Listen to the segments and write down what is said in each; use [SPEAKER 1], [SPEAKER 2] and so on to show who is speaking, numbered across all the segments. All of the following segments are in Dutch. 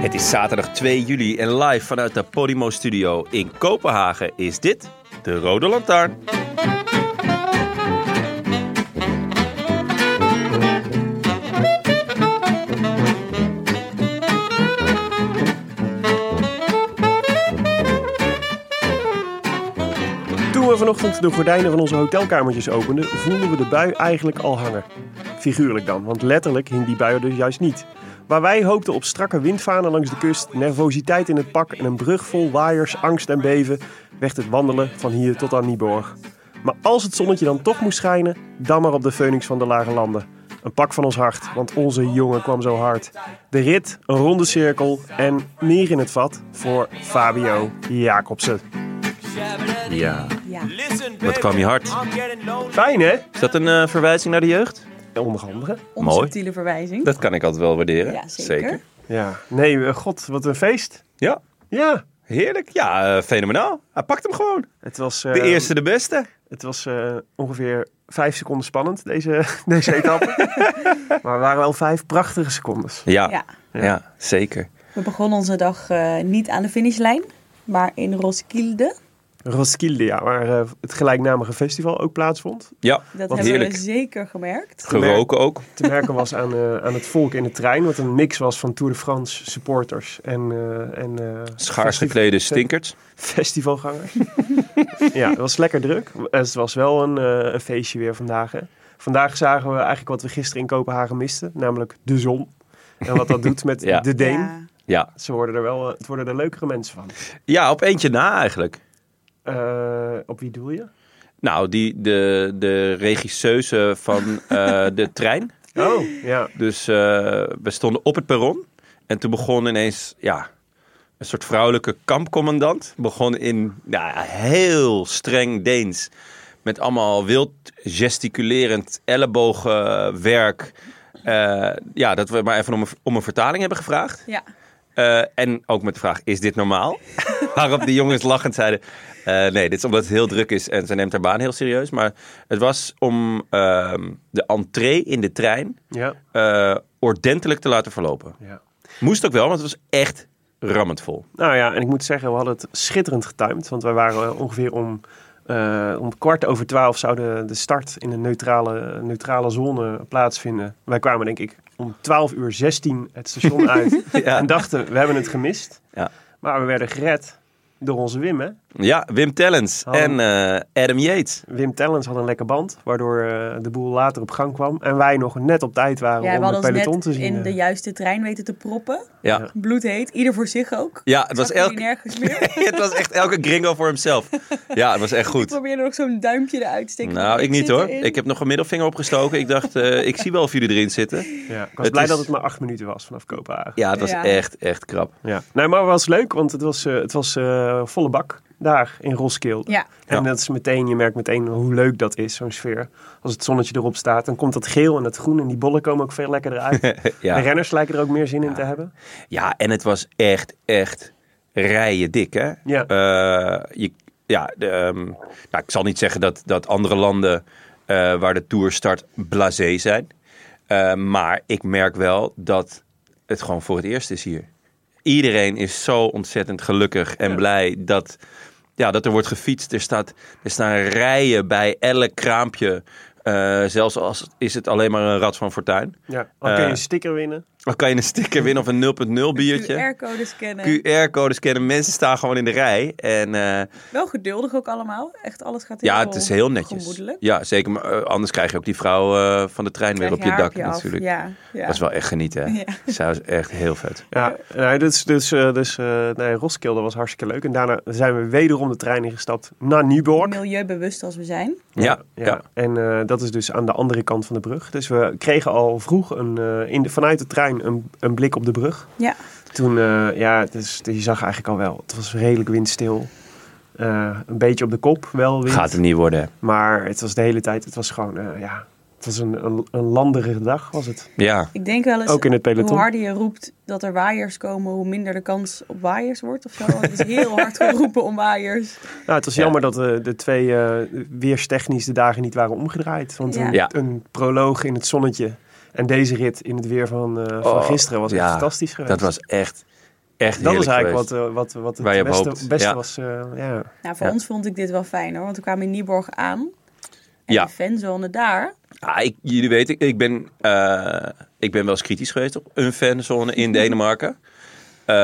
[SPEAKER 1] Het is zaterdag 2 juli en live vanuit de Podimo Studio in Kopenhagen is dit de Rode Lantaarn.
[SPEAKER 2] Toen we vanochtend de gordijnen van onze hotelkamertjes openden, voelden we de bui eigenlijk al hangen. Figuurlijk dan, want letterlijk hing die bui er dus juist niet. Waar wij hoopten op strakke windvanen langs de kust, nervositeit in het pak en een brug vol waaiers, angst en beven, werd het wandelen van hier tot aan Nieborg. Maar als het zonnetje dan toch moest schijnen, dan maar op de Phoenix van de Lage Landen. Een pak van ons hart, want onze jongen kwam zo hard. De rit, een ronde cirkel en meer in het vat voor Fabio Jacobsen.
[SPEAKER 1] Ja,
[SPEAKER 3] Ja.
[SPEAKER 1] wat kwam je hard.
[SPEAKER 2] Fijn hè?
[SPEAKER 1] Is dat een eh, verwijzing naar de jeugd?
[SPEAKER 2] Onder andere.
[SPEAKER 1] Mooi.
[SPEAKER 4] subtiele verwijzing.
[SPEAKER 1] Dat kan ik altijd wel waarderen.
[SPEAKER 4] Ja, zeker.
[SPEAKER 2] Ja, nee, eh, god, wat een feest.
[SPEAKER 1] Ja,
[SPEAKER 2] Ja,
[SPEAKER 1] heerlijk. Ja, eh, fenomenaal. Hij pakt hem gewoon.
[SPEAKER 2] het was,
[SPEAKER 1] De
[SPEAKER 2] eh,
[SPEAKER 1] eerste, de beste.
[SPEAKER 2] Het was eh, ongeveer vijf seconden spannend, deze, deze etappe. maar er waren wel vijf prachtige secondes.
[SPEAKER 1] Ja, ja.
[SPEAKER 4] Ja.
[SPEAKER 1] zeker.
[SPEAKER 4] We begonnen onze dag eh, niet aan de finishlijn, maar in Roskilde.
[SPEAKER 2] Roskilde, ja, waar eh, het gelijknamige festival ook plaatsvond.
[SPEAKER 1] Ja, wat
[SPEAKER 4] Dat hebben
[SPEAKER 1] heerlijk.
[SPEAKER 4] we zeker gemerkt.
[SPEAKER 1] Geroken ook.
[SPEAKER 2] Te merken was aan, eh, aan het volk in de trein, wat een mix was van Tour de France supporters en, eh, en eh,
[SPEAKER 1] Schaars
[SPEAKER 2] festi-
[SPEAKER 1] geklede stinkerts.
[SPEAKER 2] festivalgangers. ja, het was lekker druk. Het was wel een, eh, een feestje weer vandaag. Hè. Vandaag zagen we eigenlijk wat we gisteren in Kopenhagen misten, namelijk de zon. En wat dat doet met
[SPEAKER 1] Ja.
[SPEAKER 2] de Deen.
[SPEAKER 4] Ja.
[SPEAKER 1] Ja.
[SPEAKER 2] Ze worden er wel, eh, het worden er leukere mensen van.
[SPEAKER 1] ja, op eentje na eigenlijk.
[SPEAKER 2] Eh, op wie doel je?
[SPEAKER 1] Nou, die, de, de regisseuse van eh, de trein.
[SPEAKER 2] Oh, ja.
[SPEAKER 1] Dus eh, we stonden op het perron. En toen begon ineens, ja, een soort vrouwelijke kampcommandant. Begon in ja, heel streng Deens. Met allemaal wild gesticulerend ellebogenwerk. Eh, ja, dat we maar even om een, om een vertaling hebben gevraagd.
[SPEAKER 4] Ja.
[SPEAKER 1] Eh, en ook met de vraag, is dit normaal? Waarop de jongens lachend zeiden, eh, nee, dit is omdat het heel druk is en ze neemt haar baan heel serieus. Maar het was om ehm, de entree in de trein
[SPEAKER 2] ja.
[SPEAKER 1] eh, ordentelijk te laten verlopen.
[SPEAKER 2] ja.
[SPEAKER 1] Moest ook wel, want het was echt rammend vol.
[SPEAKER 2] Nou ja, en ik moet zeggen, we hadden het schitterend getimed. Want wij waren eh, ongeveer om, eh, om kwart over twaalf zou de, de start in een neutrale, neutrale zone plaatsvinden. Wij kwamen denk ik om twaalf uur zestien het station uit.
[SPEAKER 1] Ja.
[SPEAKER 2] En dachten, we hebben het gemist.
[SPEAKER 1] Ja.
[SPEAKER 2] Maar we werden gered door onze Wim, hè.
[SPEAKER 1] Ja, Wim Tellens
[SPEAKER 2] Hallo.
[SPEAKER 1] en eh, Adam Yates.
[SPEAKER 2] Wim Tellens had een lekker band, waardoor eh, de boel later op gang kwam. En wij nog net op tijd waren
[SPEAKER 4] Ja, we
[SPEAKER 2] om het
[SPEAKER 4] hadden
[SPEAKER 2] peloton
[SPEAKER 4] ons
[SPEAKER 2] te
[SPEAKER 4] net
[SPEAKER 2] zien.
[SPEAKER 1] eh.
[SPEAKER 4] in de juiste trein weten te proppen.
[SPEAKER 1] Ja,
[SPEAKER 4] Bloedheet, ieder voor zich ook.
[SPEAKER 1] ja het, was
[SPEAKER 4] Zag jullie
[SPEAKER 1] elke,
[SPEAKER 4] nergens meer.
[SPEAKER 1] het was echt elke gringo voor hemzelf. Ja, het was echt
[SPEAKER 4] Ik
[SPEAKER 1] goed.
[SPEAKER 4] probeerde nog zo'n duimpje eruit te steken.
[SPEAKER 1] Nou, ik niet
[SPEAKER 4] zit
[SPEAKER 1] hoor.
[SPEAKER 4] erin.
[SPEAKER 1] Ik heb nog een middelvinger opgestoken. Ik dacht, eh, ik zie wel of jullie erin zitten.
[SPEAKER 2] Ja, ik was
[SPEAKER 1] Het
[SPEAKER 2] blij
[SPEAKER 1] is-
[SPEAKER 2] dat het maar acht minuten was vanaf Kopenhagen.
[SPEAKER 1] Ja, het was
[SPEAKER 4] Ja.
[SPEAKER 1] echt, echt krap.
[SPEAKER 2] Ja. Nee, maar het was leuk, want het was, eh, het was eh, volle bak daar in Roskilde.
[SPEAKER 4] Ja.
[SPEAKER 2] En
[SPEAKER 1] Ja.
[SPEAKER 2] dat is meteen, je merkt meteen hoe leuk dat is, zo'n sfeer. Als het zonnetje erop staat, dan komt dat geel en dat groen en die bollen komen ook veel lekkerder uit. De
[SPEAKER 1] Ja.
[SPEAKER 2] renners lijken er ook meer zin in te hebben.
[SPEAKER 1] ja, en het was echt, echt rijen dik, hè?
[SPEAKER 2] Ja.
[SPEAKER 1] Eh, je, ja de, ehm, nou, ik zal niet zeggen dat, dat andere landen eh, waar de Tour start blasé zijn. Eh, maar ik merk wel dat het gewoon voor het eerst is hier. Iedereen is zo ontzettend gelukkig en blij dat, ja, dat er wordt gefietst. Er, staat, er staan rijen bij elk kraampje. Eh, zelfs als is het alleen maar een rad van fortuin.
[SPEAKER 2] Ja. Al kun je
[SPEAKER 1] Eh.
[SPEAKER 2] een sticker winnen.
[SPEAKER 1] Dan kan je een sticker winnen of een 0.0 biertje.
[SPEAKER 4] QR-code scannen.
[SPEAKER 1] QR-code scannen. Mensen staan gewoon in de rij. En eh,
[SPEAKER 4] Wel geduldig ook allemaal. Echt alles gaat heel
[SPEAKER 1] ja, het is heel netjes.
[SPEAKER 4] gemoedelijk.
[SPEAKER 1] Ja, zeker. Maar eh, anders krijg je ook die vrouw eh, van de trein weer op
[SPEAKER 4] Krijg
[SPEAKER 1] je
[SPEAKER 4] haar
[SPEAKER 1] dak
[SPEAKER 4] af.
[SPEAKER 1] natuurlijk.
[SPEAKER 4] Ja, ja.
[SPEAKER 1] Dat is wel echt genieten. Hè?
[SPEAKER 4] Ja.
[SPEAKER 1] Zij is echt heel vet.
[SPEAKER 2] Ja, nou, dus, dus, eh, dus eh, nee, Roskilde was hartstikke leuk. En daarna zijn we wederom de trein ingestapt naar Nieborg.
[SPEAKER 4] milieubewust als we zijn.
[SPEAKER 1] Ja, ja.
[SPEAKER 2] Ja, en eh, dat is dus aan de andere kant van de brug. Dus we kregen al vroeg een, eh, in de, vanuit de trein een, een blik op de brug.
[SPEAKER 4] Ja.
[SPEAKER 2] Toen, eh, ja, dus, je zag eigenlijk al wel, het was redelijk windstil. Eh, een beetje op de kop wel wind.
[SPEAKER 1] Gaat het niet worden. hè?
[SPEAKER 2] Maar het was de hele tijd, het was gewoon, eh, ja, het was een, een, een landerige dag was het.
[SPEAKER 1] Ja.
[SPEAKER 4] Ik denk wel eens,
[SPEAKER 2] Ook in het peloton.
[SPEAKER 4] hoe harder je roept dat er waaiers komen, hoe minder de kans op waaiers wordt of zo. Het is heel hard geroepen om waaiers.
[SPEAKER 2] Nou, het was
[SPEAKER 1] Ja.
[SPEAKER 2] jammer dat eh, de twee eh, weerstechnisch de dagen niet waren omgedraaid. Want
[SPEAKER 4] Ja.
[SPEAKER 2] een,
[SPEAKER 1] Ja.
[SPEAKER 2] een proloog in het zonnetje en deze rit in het weer van, eh, van
[SPEAKER 1] Oh,
[SPEAKER 2] gisteren was
[SPEAKER 1] ja.
[SPEAKER 2] echt fantastisch geweest.
[SPEAKER 1] Dat was echt, echt
[SPEAKER 2] Dat is
[SPEAKER 1] heerlijk
[SPEAKER 2] eigenlijk wat,
[SPEAKER 1] geweest.
[SPEAKER 2] eh, wat, wat het
[SPEAKER 1] Waar je op
[SPEAKER 2] beste,
[SPEAKER 1] hoopt.
[SPEAKER 2] beste
[SPEAKER 1] Ja.
[SPEAKER 2] was. eh, ja.
[SPEAKER 4] Nou, voor
[SPEAKER 1] Ja.
[SPEAKER 4] ons vond ik dit wel fijn hoor, want we kwamen in Nieborg aan.
[SPEAKER 2] eh,
[SPEAKER 4] En
[SPEAKER 1] Ja.
[SPEAKER 4] de fanzone daar.
[SPEAKER 1] Ah, ik, jullie weten, ik ben, eh, ik ben wel eens kritisch geweest op een fanzone in Denemarken. Eh,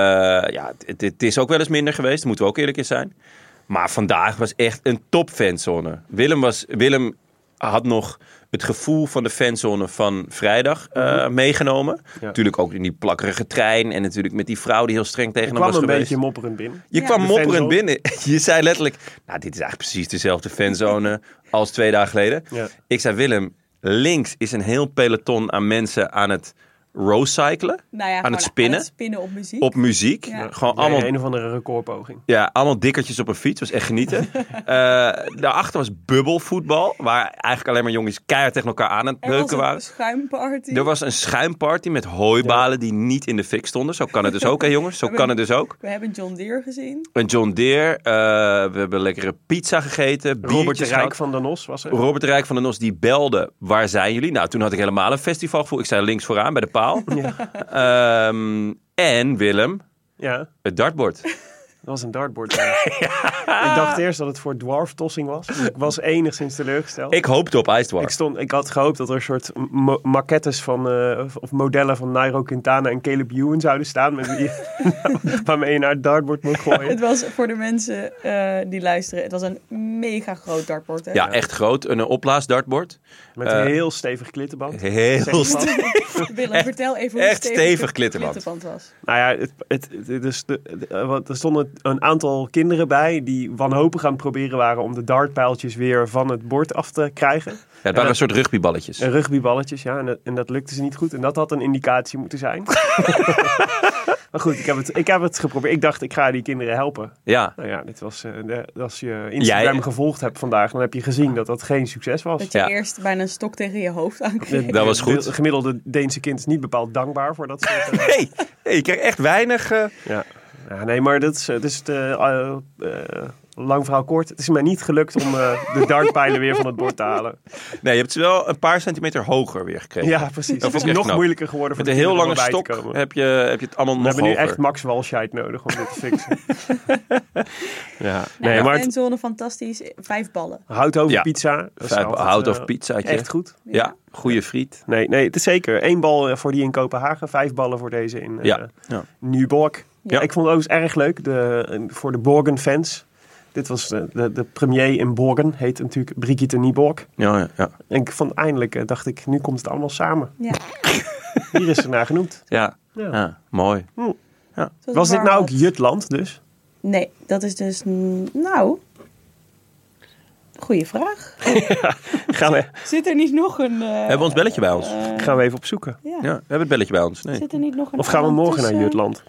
[SPEAKER 1] ja, het, het is ook wel eens minder geweest, daar moeten we ook eerlijk in zijn. Maar vandaag was echt een top fanzone. Willem, was, Willem had nog het gevoel van de fanzone van vrijdag eh, meegenomen.
[SPEAKER 2] Mhm. Ja.
[SPEAKER 1] Natuurlijk ook in die plakkerige trein en natuurlijk met die vrouw die heel streng tegen
[SPEAKER 2] Ik
[SPEAKER 1] hem
[SPEAKER 2] kwam
[SPEAKER 1] was
[SPEAKER 2] een
[SPEAKER 1] geweest.
[SPEAKER 2] beetje mopperend binnen.
[SPEAKER 1] Je
[SPEAKER 4] Ja.
[SPEAKER 1] kwam
[SPEAKER 2] De
[SPEAKER 1] mopperend
[SPEAKER 2] fanzone.
[SPEAKER 1] binnen. Je zei letterlijk, nou dit is eigenlijk precies dezelfde fanzone als twee dagen geleden.
[SPEAKER 2] Ja.
[SPEAKER 1] Ik zei Willem, links is een heel peloton aan mensen aan het roadcyclen.
[SPEAKER 4] Nou
[SPEAKER 1] Aan
[SPEAKER 4] ja, gewoon
[SPEAKER 1] het spinnen?
[SPEAKER 4] spinnen op muziek.
[SPEAKER 1] Op muziek.
[SPEAKER 4] Ja.
[SPEAKER 1] Gewoon
[SPEAKER 2] Allemaal
[SPEAKER 1] allemaal,
[SPEAKER 2] een of andere recordpoging.
[SPEAKER 1] ja, allemaal dikkertjes op een fiets. was echt genieten. Eh, daarachter was bubbelvoetbal. Waar eigenlijk alleen maar jongens keihard tegen elkaar aan aan het
[SPEAKER 4] er was
[SPEAKER 1] beuken
[SPEAKER 4] een
[SPEAKER 1] waren.
[SPEAKER 4] schuimparty.
[SPEAKER 1] Er was een schuimparty met hooibalen die niet in de fik stonden. Zo kan het dus ook hè jongens. Zo
[SPEAKER 4] Maar-
[SPEAKER 1] kan het dus ook.
[SPEAKER 4] We hebben John Deere gezien.
[SPEAKER 1] Een John Deere. eh, we hebben lekkere pizza gegeten.
[SPEAKER 2] Robert de
[SPEAKER 1] biertjes
[SPEAKER 2] Rijk
[SPEAKER 1] gehad.
[SPEAKER 2] van Danos was er.
[SPEAKER 1] Robert Rijk van den Nos die belde, waar zijn jullie? Nou, toen had ik helemaal een festivalgevoel. Ik sta links vooraan bij de paal. Ehm, en Willem,
[SPEAKER 2] Ja, dat
[SPEAKER 1] het dartbord.
[SPEAKER 2] was een dartboard. Ik dacht eerst dat het voor dwarftossing was. Dus ik was enigszins teleurgesteld.
[SPEAKER 1] Ik hoopte op Ice
[SPEAKER 2] Ik,
[SPEAKER 1] Dwarf.
[SPEAKER 2] stond, ik had gehoopt dat er een soort ma- maquettes van, eh, of- of modellen van Nairo Quintana en Caleb Ewan zouden staan. Met wie, waarmee je naar het dartboard moet
[SPEAKER 4] Het
[SPEAKER 2] gooien.
[SPEAKER 4] was voor de mensen eh, die luisteren, het was een mega groot dartbord. Hè?
[SPEAKER 1] Ja, echt groot. Een eh, opblaasdartbord.
[SPEAKER 2] Met
[SPEAKER 1] Eh,
[SPEAKER 2] een heel stevig klittenband.
[SPEAKER 1] Heel
[SPEAKER 2] Zeg je
[SPEAKER 1] sterk.
[SPEAKER 4] Willem, vertel even hoe
[SPEAKER 1] echt stevig
[SPEAKER 4] de
[SPEAKER 1] klittenband.
[SPEAKER 4] was.
[SPEAKER 2] Nou ja, het, het, het- dus de, de- eh, want er stonden een aantal kinderen bij die wanhopig aan het proberen waren om de dartpijltjes weer van het bord af te krijgen.
[SPEAKER 1] Ja, het waren een soort rugbyballetjes.
[SPEAKER 2] En rugbyballetjes, ja, en dat, en dat lukte ze niet goed. En dat had een indicatie moeten zijn. maar goed, ik heb, het, ik heb het geprobeerd. Ik dacht, ik ga die kinderen helpen.
[SPEAKER 1] Ja.
[SPEAKER 2] Nou ja, dit was, eh, de- als je Instagram
[SPEAKER 1] Jij-
[SPEAKER 2] gevolgd hebt vandaag, dan heb je gezien dat dat geen succes was.
[SPEAKER 4] Dat je
[SPEAKER 1] Ja.
[SPEAKER 4] eerst bijna een stok tegen je hoofd aankreeg.
[SPEAKER 1] Dat was goed.
[SPEAKER 2] Het gemiddelde Deense kind is niet bepaald dankbaar voor dat soort... eh,
[SPEAKER 1] Nee, nee, ik kreeg echt weinig. eh,
[SPEAKER 2] Ja. ja, nee, maar dat is, dat is de, eh, eh, lang verhaal kort. Het is mij niet gelukt om eh, de dartpijlen weer van het bord te halen.
[SPEAKER 1] Nee, je hebt ze wel een paar centimeter hoger weer gekregen.
[SPEAKER 2] Ja, precies.
[SPEAKER 1] Dat
[SPEAKER 2] Het
[SPEAKER 1] vond
[SPEAKER 2] is
[SPEAKER 1] ik echt
[SPEAKER 2] nog
[SPEAKER 1] knap.
[SPEAKER 2] moeilijker geworden voor
[SPEAKER 1] Met een
[SPEAKER 2] de
[SPEAKER 1] heel lange
[SPEAKER 2] kinderen om
[SPEAKER 1] stok eh,
[SPEAKER 2] erbij te komen.
[SPEAKER 1] heb je, heb je het allemaal
[SPEAKER 2] We
[SPEAKER 1] nog
[SPEAKER 2] hebben nu
[SPEAKER 1] hoger.
[SPEAKER 2] echt Max Walscheid nodig om dit te fixen. ja.
[SPEAKER 4] Nee,
[SPEAKER 2] Nee, maar
[SPEAKER 4] En
[SPEAKER 2] het,
[SPEAKER 4] zo'n fantastisch vijf ballen.
[SPEAKER 2] hout over
[SPEAKER 1] Ja.
[SPEAKER 2] pizza. dat is
[SPEAKER 1] Vijf-
[SPEAKER 2] altijd,
[SPEAKER 1] hout
[SPEAKER 2] eh,
[SPEAKER 1] of pizzaatje.
[SPEAKER 2] Echt goed.
[SPEAKER 1] Ja, goede friet.
[SPEAKER 2] Nee, nee, het is zeker. Eén bal eh, voor die in Kopenhagen. Vijf ballen voor deze in eh,
[SPEAKER 1] Ja. ja.
[SPEAKER 2] Nyborg.
[SPEAKER 1] Ja.
[SPEAKER 2] Ik vond het ook eens erg leuk de, eh, voor de Borgen-fans. Dit was de, de, de premier in Borgen, heet natuurlijk Brigitte Nieborg.
[SPEAKER 1] Ja, ja, ja.
[SPEAKER 2] En ik vond eindelijk, eh, dacht ik, nu komt het allemaal samen.
[SPEAKER 4] Ja.
[SPEAKER 2] Hier is ze naar genoemd.
[SPEAKER 1] Ja.
[SPEAKER 2] Ja.
[SPEAKER 1] Ja, mooi.
[SPEAKER 4] Zoals
[SPEAKER 2] Was dit
[SPEAKER 4] warm
[SPEAKER 2] nou ook
[SPEAKER 4] had.
[SPEAKER 2] Jutland dus?
[SPEAKER 4] Nee, dat is dus... mm, Nou... Goeie vraag.
[SPEAKER 2] Gaan we,
[SPEAKER 4] Zit er niet nog een... eh,
[SPEAKER 1] Hebben we ons belletje bij ons?
[SPEAKER 4] eh,
[SPEAKER 2] gaan we even opzoeken.
[SPEAKER 4] ja. eh,
[SPEAKER 1] Ja, we hebben het belletje bij ons. Nee.
[SPEAKER 4] Zit er niet nog een
[SPEAKER 2] Of gaan we
[SPEAKER 4] land
[SPEAKER 2] morgen naar
[SPEAKER 4] tussen?
[SPEAKER 2] Jutland?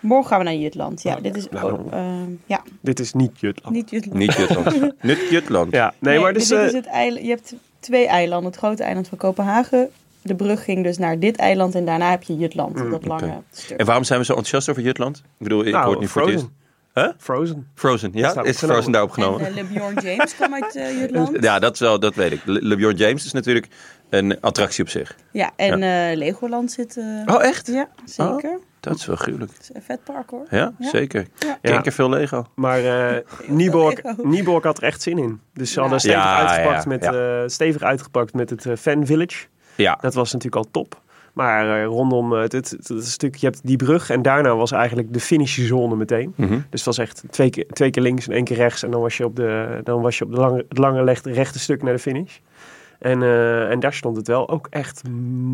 [SPEAKER 4] Morgen gaan we naar Jutland. Ja, dit is...
[SPEAKER 2] Nou.
[SPEAKER 4] oh, ehm, ja,
[SPEAKER 2] Dit is Oh. niet Jutland.
[SPEAKER 4] niet Jutland.
[SPEAKER 1] Niet Jutland. Niet Jutland.
[SPEAKER 2] Ja, nee, maar dus,
[SPEAKER 4] dit dit
[SPEAKER 2] eh,
[SPEAKER 4] is het eiland, je hebt twee eilanden. Het grote eiland van Kopenhagen. De brug ging dus naar dit eiland en daarna heb je Jutland. dat lange
[SPEAKER 1] oké.
[SPEAKER 4] stuk.
[SPEAKER 1] En waarom zijn we zo enthousiast over Jutland? Ik bedoel, ik
[SPEAKER 2] nou,
[SPEAKER 1] hoor het nu voor het eerst.
[SPEAKER 2] Frozen.
[SPEAKER 1] Huh?
[SPEAKER 2] Frozen.
[SPEAKER 1] Frozen, ja?
[SPEAKER 2] Is daar
[SPEAKER 1] Is
[SPEAKER 2] opgenomen.
[SPEAKER 1] Frozen daar
[SPEAKER 4] En
[SPEAKER 1] opgenomen?
[SPEAKER 4] eh, LeBron James kwam uit eh, Jutland.
[SPEAKER 1] nou? ja, dat, is wel, dat weet ik. Le- LeBron James is natuurlijk een attractie op zich.
[SPEAKER 4] Ja, en eh, Legoland zit... eh,
[SPEAKER 1] Oh, echt?
[SPEAKER 4] Ja, zeker.
[SPEAKER 1] Dat is wel gruwelijk.
[SPEAKER 4] Het is een vet park hoor.
[SPEAKER 1] Ja,
[SPEAKER 4] Ja.
[SPEAKER 1] zeker.
[SPEAKER 4] Ja.
[SPEAKER 1] Kijk er veel Lego.
[SPEAKER 2] Maar eh Nieborg,
[SPEAKER 4] Lego.
[SPEAKER 2] Nieborg had er echt zin in. Dus ze hadden stevig,
[SPEAKER 1] Ja,
[SPEAKER 2] uitgepakt,
[SPEAKER 1] ja,
[SPEAKER 2] Met,
[SPEAKER 1] ja.
[SPEAKER 2] eh, stevig uitgepakt met het eh, Fan Village.
[SPEAKER 1] Ja,
[SPEAKER 2] Dat was natuurlijk al top. Maar eh, rondom het, het, het- het stuk, je hebt die brug en daarna was eigenlijk de finishzone meteen.
[SPEAKER 1] Mhm.
[SPEAKER 2] Dus het was echt twee keer, twee keer links en één keer rechts. En dan was je op, de, dan was je op de lange, het lange leg- rechte stuk naar de finish. En, eh, en daar stond het wel ook echt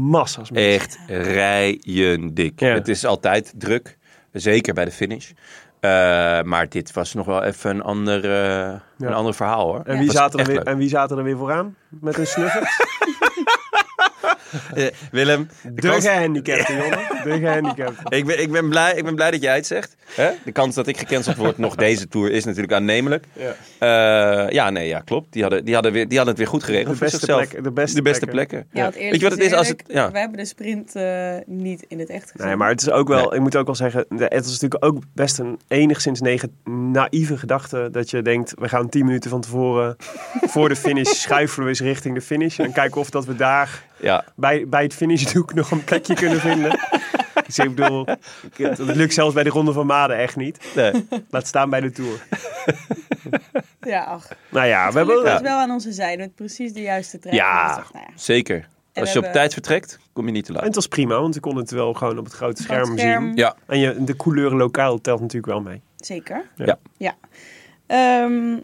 [SPEAKER 2] massa's mensen.
[SPEAKER 1] Echt rijen dik.
[SPEAKER 2] Ja.
[SPEAKER 1] Het is altijd druk, zeker bij de finish. Eh, maar dit was nog wel even een ander, eh, een ander verhaal hoor.
[SPEAKER 2] En wie,
[SPEAKER 1] Was
[SPEAKER 2] zaten er
[SPEAKER 1] echt
[SPEAKER 2] weer,
[SPEAKER 1] leuk.
[SPEAKER 2] en wie zaten er weer vooraan? Met een snuffer?
[SPEAKER 1] Eh, Willem, de
[SPEAKER 2] De
[SPEAKER 1] kans-
[SPEAKER 2] gehandicapte, jongen. De gehandicapte.
[SPEAKER 1] ik, ben, ik, ben blij, ik ben blij dat jij het zegt. Hè? De kans dat ik gecanceld word nog deze tour is natuurlijk aannemelijk.
[SPEAKER 2] Ja.
[SPEAKER 1] Eh, ja, nee, ja, klopt. Die hadden, die, hadden weer, die hadden het weer goed geregeld.
[SPEAKER 2] De
[SPEAKER 1] voor
[SPEAKER 2] beste
[SPEAKER 1] zichzelf.
[SPEAKER 2] plekken- de beste plekken.
[SPEAKER 1] plekken.
[SPEAKER 4] Ja, want
[SPEAKER 1] Weet
[SPEAKER 4] eerlijk
[SPEAKER 1] je wat het is als het. Ja.
[SPEAKER 4] We hebben de sprint eh, niet in het echt gezien.
[SPEAKER 2] Nee, maar het is ook wel, ik moet ook wel zeggen, de- het is natuurlijk ook best een enigszins nege, naïeve gedachte dat je denkt, we gaan 10 minuten van tevoren voor de finish schuifelen we eens richting de finish en kijken of dat we daar
[SPEAKER 1] Ja.
[SPEAKER 2] bij, bij het finishdoek nog een plekje kunnen vinden. Dus ik bedoel, ik- het lukt zelfs bij de Ronde van Maden echt niet.
[SPEAKER 1] Nee.
[SPEAKER 2] Laat staan bij de Tour.
[SPEAKER 4] Ja, ach.
[SPEAKER 2] Nou ja, we hebben...
[SPEAKER 4] Gelukkig
[SPEAKER 2] Ja.
[SPEAKER 4] was wel aan onze zijde met precies de juiste trein.
[SPEAKER 1] Ja.
[SPEAKER 4] Dus ik dacht, nou ja.
[SPEAKER 1] Zeker.
[SPEAKER 4] we
[SPEAKER 1] Als je op
[SPEAKER 4] hebben-
[SPEAKER 1] tijd vertrekt, kom je niet te
[SPEAKER 2] En
[SPEAKER 1] laat.
[SPEAKER 2] het was prima, want ik kon het wel gewoon op het grote
[SPEAKER 4] Groot
[SPEAKER 2] scherm,
[SPEAKER 4] scherm.
[SPEAKER 2] zien.
[SPEAKER 1] Ja.
[SPEAKER 2] En je, de couleur lokaal telt natuurlijk wel mee.
[SPEAKER 4] Zeker.
[SPEAKER 1] Ja.
[SPEAKER 4] Ja. Ehm,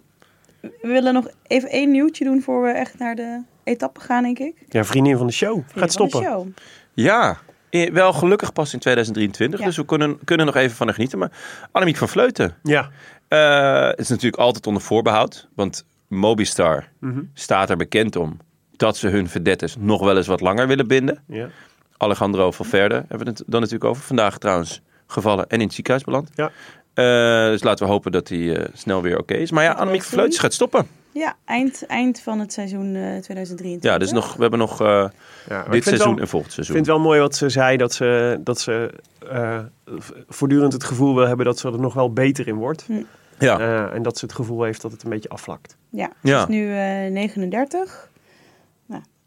[SPEAKER 4] we willen nog even één nieuwtje doen voor we echt naar de etappe gaan, denk ik.
[SPEAKER 2] Ja, vriendin van de show.
[SPEAKER 4] Van de
[SPEAKER 2] Gaat stoppen.
[SPEAKER 4] show.
[SPEAKER 1] Ja, eh, wel gelukkig pas in 2023.
[SPEAKER 4] Ja.
[SPEAKER 1] Dus we kunnen, kunnen nog even van haar genieten. Maar Annemiek van Vleuten
[SPEAKER 2] Ja.
[SPEAKER 1] eh, is natuurlijk altijd onder voorbehoud. Want Mobistar
[SPEAKER 2] Mhm.
[SPEAKER 1] staat er bekend om dat ze hun verdettes nog wel eens wat langer willen binden.
[SPEAKER 2] ja.
[SPEAKER 1] Alejandro Valverde hebben we het dan natuurlijk over. Vandaag trouwens gevallen en in het ziekenhuis beland.
[SPEAKER 2] Ja.
[SPEAKER 1] Eh, dus laten we hopen dat hij eh, snel weer oké is. Maar ja, Annemiek van Vleuten gaat stoppen.
[SPEAKER 4] Ja, eind, eind van het seizoen eh 2023.
[SPEAKER 1] Ja, dus nog, we hebben nog eh,
[SPEAKER 2] Ja,
[SPEAKER 1] dit
[SPEAKER 2] maar ik vind het
[SPEAKER 1] seizoen
[SPEAKER 2] wel-
[SPEAKER 1] en volgend
[SPEAKER 2] Ik
[SPEAKER 1] seizoen.
[SPEAKER 2] vind het wel mooi wat ze zei, dat ze, dat ze eh, voortdurend het gevoel wil hebben dat ze er nog wel beter in wordt.
[SPEAKER 1] Ja.
[SPEAKER 2] Eh, en dat ze het gevoel heeft dat het een beetje afvlakt.
[SPEAKER 4] Ja, het
[SPEAKER 1] Ja.
[SPEAKER 4] is nu eh, 39.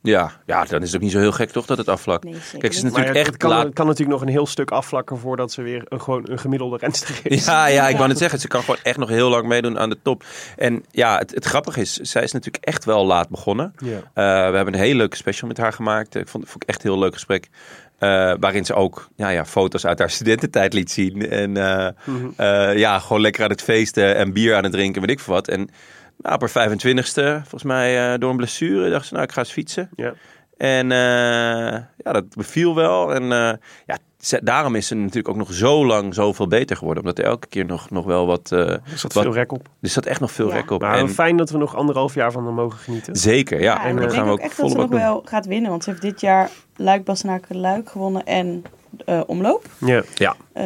[SPEAKER 1] Ja, ja, dan is het ook niet zo heel gek toch dat het afvlakt.
[SPEAKER 4] Nee, zeker
[SPEAKER 1] Kijk, ze is
[SPEAKER 4] niet.
[SPEAKER 1] natuurlijk
[SPEAKER 2] ja,
[SPEAKER 1] echt
[SPEAKER 2] het kan,
[SPEAKER 1] laat.
[SPEAKER 2] het kan natuurlijk nog een heel stuk afvlakken voordat ze weer een, gewoon een gemiddelde renster is.
[SPEAKER 1] Ja, ja, ik wou net zeggen, ze kan gewoon echt nog heel lang meedoen aan de top. En ja, het, het grappige is, zij is natuurlijk echt wel laat begonnen.
[SPEAKER 2] Ja.
[SPEAKER 1] Eh, we hebben een hele leuke special met haar gemaakt. Ik vond, vond ik echt een heel leuk gesprek. eh, waarin ze ook nou ja, ja, foto's uit haar studententijd liet zien. En eh,
[SPEAKER 2] Mhm.
[SPEAKER 1] eh, ja, gewoon lekker aan het feesten en bier aan het drinken, weet ik veel wat. En nou, op haar 25ste, volgens mij eh, door een blessure, dacht ze, nou, ik ga eens fietsen.
[SPEAKER 2] Ja.
[SPEAKER 1] En eh, ja, dat beviel wel. En eh, ja, ze- daarom is ze natuurlijk ook nog zo lang zoveel beter geworden. Omdat er elke keer nog, nog wel wat... eh,
[SPEAKER 2] Er zat
[SPEAKER 1] wat-
[SPEAKER 2] veel rek op.
[SPEAKER 1] er zat echt nog veel
[SPEAKER 4] Ja.
[SPEAKER 1] rek op.
[SPEAKER 2] Maar
[SPEAKER 1] en,
[SPEAKER 2] fijn dat we nog anderhalf jaar van haar mogen genieten.
[SPEAKER 1] zeker, ja.
[SPEAKER 4] Ja,
[SPEAKER 1] en dan
[SPEAKER 4] en ik
[SPEAKER 1] gaan
[SPEAKER 4] denk
[SPEAKER 1] we
[SPEAKER 4] ook
[SPEAKER 1] ook
[SPEAKER 4] echt dat ze
[SPEAKER 1] volle bak
[SPEAKER 4] nog
[SPEAKER 1] doen.
[SPEAKER 4] wel gaat winnen. Want ze heeft dit jaar Luik, Bastenaken, Luik gewonnen en eh, omloop.
[SPEAKER 2] Ja. ja.
[SPEAKER 4] Eh,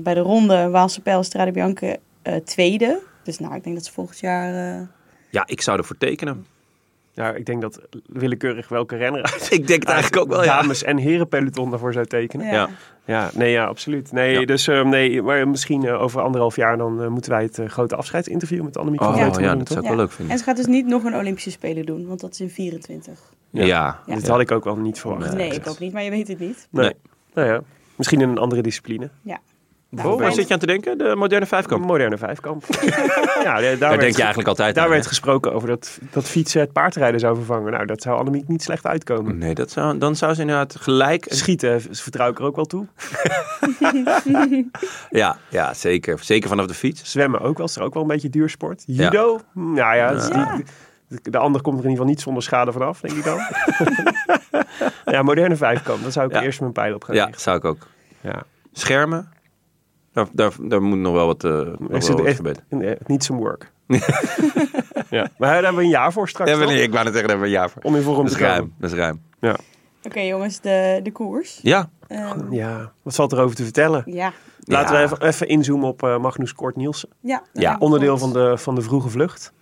[SPEAKER 4] bij de ronde Waalse Pijl, Strade Bianca eh, tweede. Dus nou, ik denk dat ze volgend jaar... eh,
[SPEAKER 1] Ja, ik zou ervoor tekenen.
[SPEAKER 2] ik denk dat willekeurig welke renner uit
[SPEAKER 1] Ik denk het eigenlijk ook wel, ja.
[SPEAKER 2] dames- en herenpeloton daarvoor zou tekenen.
[SPEAKER 4] ja.
[SPEAKER 1] Ja.
[SPEAKER 2] Ja, nee, ja, absoluut. Nee,
[SPEAKER 1] Ja.
[SPEAKER 2] dus ehm, nee, maar misschien eh, over anderhalf jaar dan eh, moeten wij het eh, grote afscheidsinterview met Annemiek van
[SPEAKER 1] Oh,
[SPEAKER 2] Vleuten
[SPEAKER 1] ja,
[SPEAKER 2] doen,
[SPEAKER 1] dat
[SPEAKER 2] toch?
[SPEAKER 1] zou ik wel leuk vinden.
[SPEAKER 4] En ze gaat dus niet nog een Olympische Spelen doen, want dat is in 24.
[SPEAKER 1] Ja.
[SPEAKER 4] Ja.
[SPEAKER 2] Dit had ik ook wel niet verwacht.
[SPEAKER 4] nee, ik ook niet, maar je weet het niet.
[SPEAKER 2] Nee.
[SPEAKER 1] Nee.
[SPEAKER 2] Nou ja, misschien in een andere discipline.
[SPEAKER 4] Ja.
[SPEAKER 1] Oh,
[SPEAKER 2] Oh,
[SPEAKER 1] waar
[SPEAKER 2] Bijvoorbeeld.
[SPEAKER 1] zit je aan te denken? De moderne
[SPEAKER 2] Een
[SPEAKER 1] vijfkamp.
[SPEAKER 2] moderne vijfkamp. ja, daar, werd
[SPEAKER 1] Daar denk
[SPEAKER 2] ge-
[SPEAKER 1] je eigenlijk altijd
[SPEAKER 2] daar
[SPEAKER 1] aan,
[SPEAKER 2] werd
[SPEAKER 1] hè?
[SPEAKER 2] gesproken over dat, dat fietsen het paardrijden zou vervangen. Nou, dat zou Annemiek niet slecht uitkomen.
[SPEAKER 1] Nee, dat zou, dan zou ze inderdaad gelijk...
[SPEAKER 2] Schieten v- vertrouw ik er ook wel toe.
[SPEAKER 1] Ja, ja zeker. Zeker vanaf de fiets.
[SPEAKER 2] Zwemmen ook wel, is er ook wel een beetje duursport. Judo, nou ja, dat is
[SPEAKER 4] Ja.
[SPEAKER 2] die- de, de ander komt er in ieder geval niet zonder schade vanaf, denk ik dan. ja, moderne vijfkamp, daar zou ik
[SPEAKER 1] Ja.
[SPEAKER 2] eerst mijn pijl op gaan
[SPEAKER 1] Ja,
[SPEAKER 2] richten.
[SPEAKER 1] zou ik ook.
[SPEAKER 2] Ja.
[SPEAKER 1] Schermen? Daar, daar, daar moet nog wel wat, eh nog wel
[SPEAKER 2] Is het
[SPEAKER 1] wat
[SPEAKER 2] echt-
[SPEAKER 1] gebeuren.
[SPEAKER 2] nee, niet zijn work. ja. Maar daar hebben we een jaar voor straks.
[SPEAKER 1] Ja, maar
[SPEAKER 2] toch?
[SPEAKER 1] nee, ik wou net zeggen, daar hebben we een jaar voor.
[SPEAKER 2] Om in vorm
[SPEAKER 1] Dat
[SPEAKER 2] te
[SPEAKER 1] is
[SPEAKER 2] komen.
[SPEAKER 1] ruim, dat is ruim.
[SPEAKER 2] Ja.
[SPEAKER 4] Oké jongens, de, de koers.
[SPEAKER 1] Ja,
[SPEAKER 4] Ehm,
[SPEAKER 2] ja, wat valt erover te vertellen?
[SPEAKER 4] ja.
[SPEAKER 2] Laten
[SPEAKER 1] Ja.
[SPEAKER 2] we even, even inzoomen op eh, Magnus Kort Nielsen.
[SPEAKER 4] Ja, daar
[SPEAKER 1] Ja.
[SPEAKER 4] ben ik
[SPEAKER 2] Onderdeel van
[SPEAKER 4] voor.
[SPEAKER 2] de, van de vroege vlucht.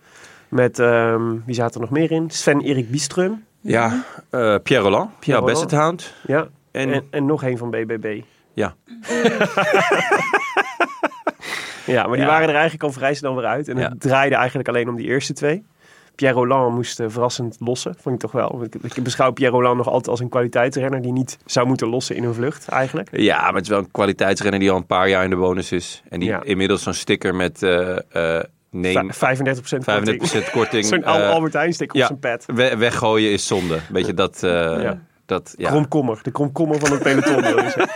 [SPEAKER 2] Met, ehm, wie zaten er nog meer in? Sven-Erik Bieström.
[SPEAKER 1] ja eh, Pierre Roland, Pierre
[SPEAKER 2] Roland.
[SPEAKER 1] Best het Hound.
[SPEAKER 2] Ja.
[SPEAKER 1] En-
[SPEAKER 2] En, en, nog één van BBB.
[SPEAKER 1] Ja,
[SPEAKER 2] Ja, maar die
[SPEAKER 1] Ja.
[SPEAKER 2] waren er eigenlijk al vrij snel weer uit. En het
[SPEAKER 1] Ja.
[SPEAKER 2] draaide eigenlijk alleen om die eerste twee. Pierre Roland moest eh, verrassend lossen, vond ik toch wel. Ik, ik beschouw Pierre Roland nog altijd als een kwaliteitsrenner die niet zou moeten lossen in een vlucht eigenlijk.
[SPEAKER 1] ja, maar het is wel een kwaliteitsrenner die al een paar jaar in de bonus is. En die
[SPEAKER 2] Ja.
[SPEAKER 1] inmiddels zo'n sticker met eh, eh, neem
[SPEAKER 2] Vij- 35% korting.
[SPEAKER 1] 35% korting.
[SPEAKER 2] Zo'n
[SPEAKER 1] eh,
[SPEAKER 2] Albert Heijn stick op
[SPEAKER 1] ja,
[SPEAKER 2] zijn pet.
[SPEAKER 1] we- weggooien is zonde. Weet je, dat... eh,
[SPEAKER 2] Ja.
[SPEAKER 1] Dat, ja.
[SPEAKER 2] Kromkommer. De kromkommer van het peloton. wil je zeggen.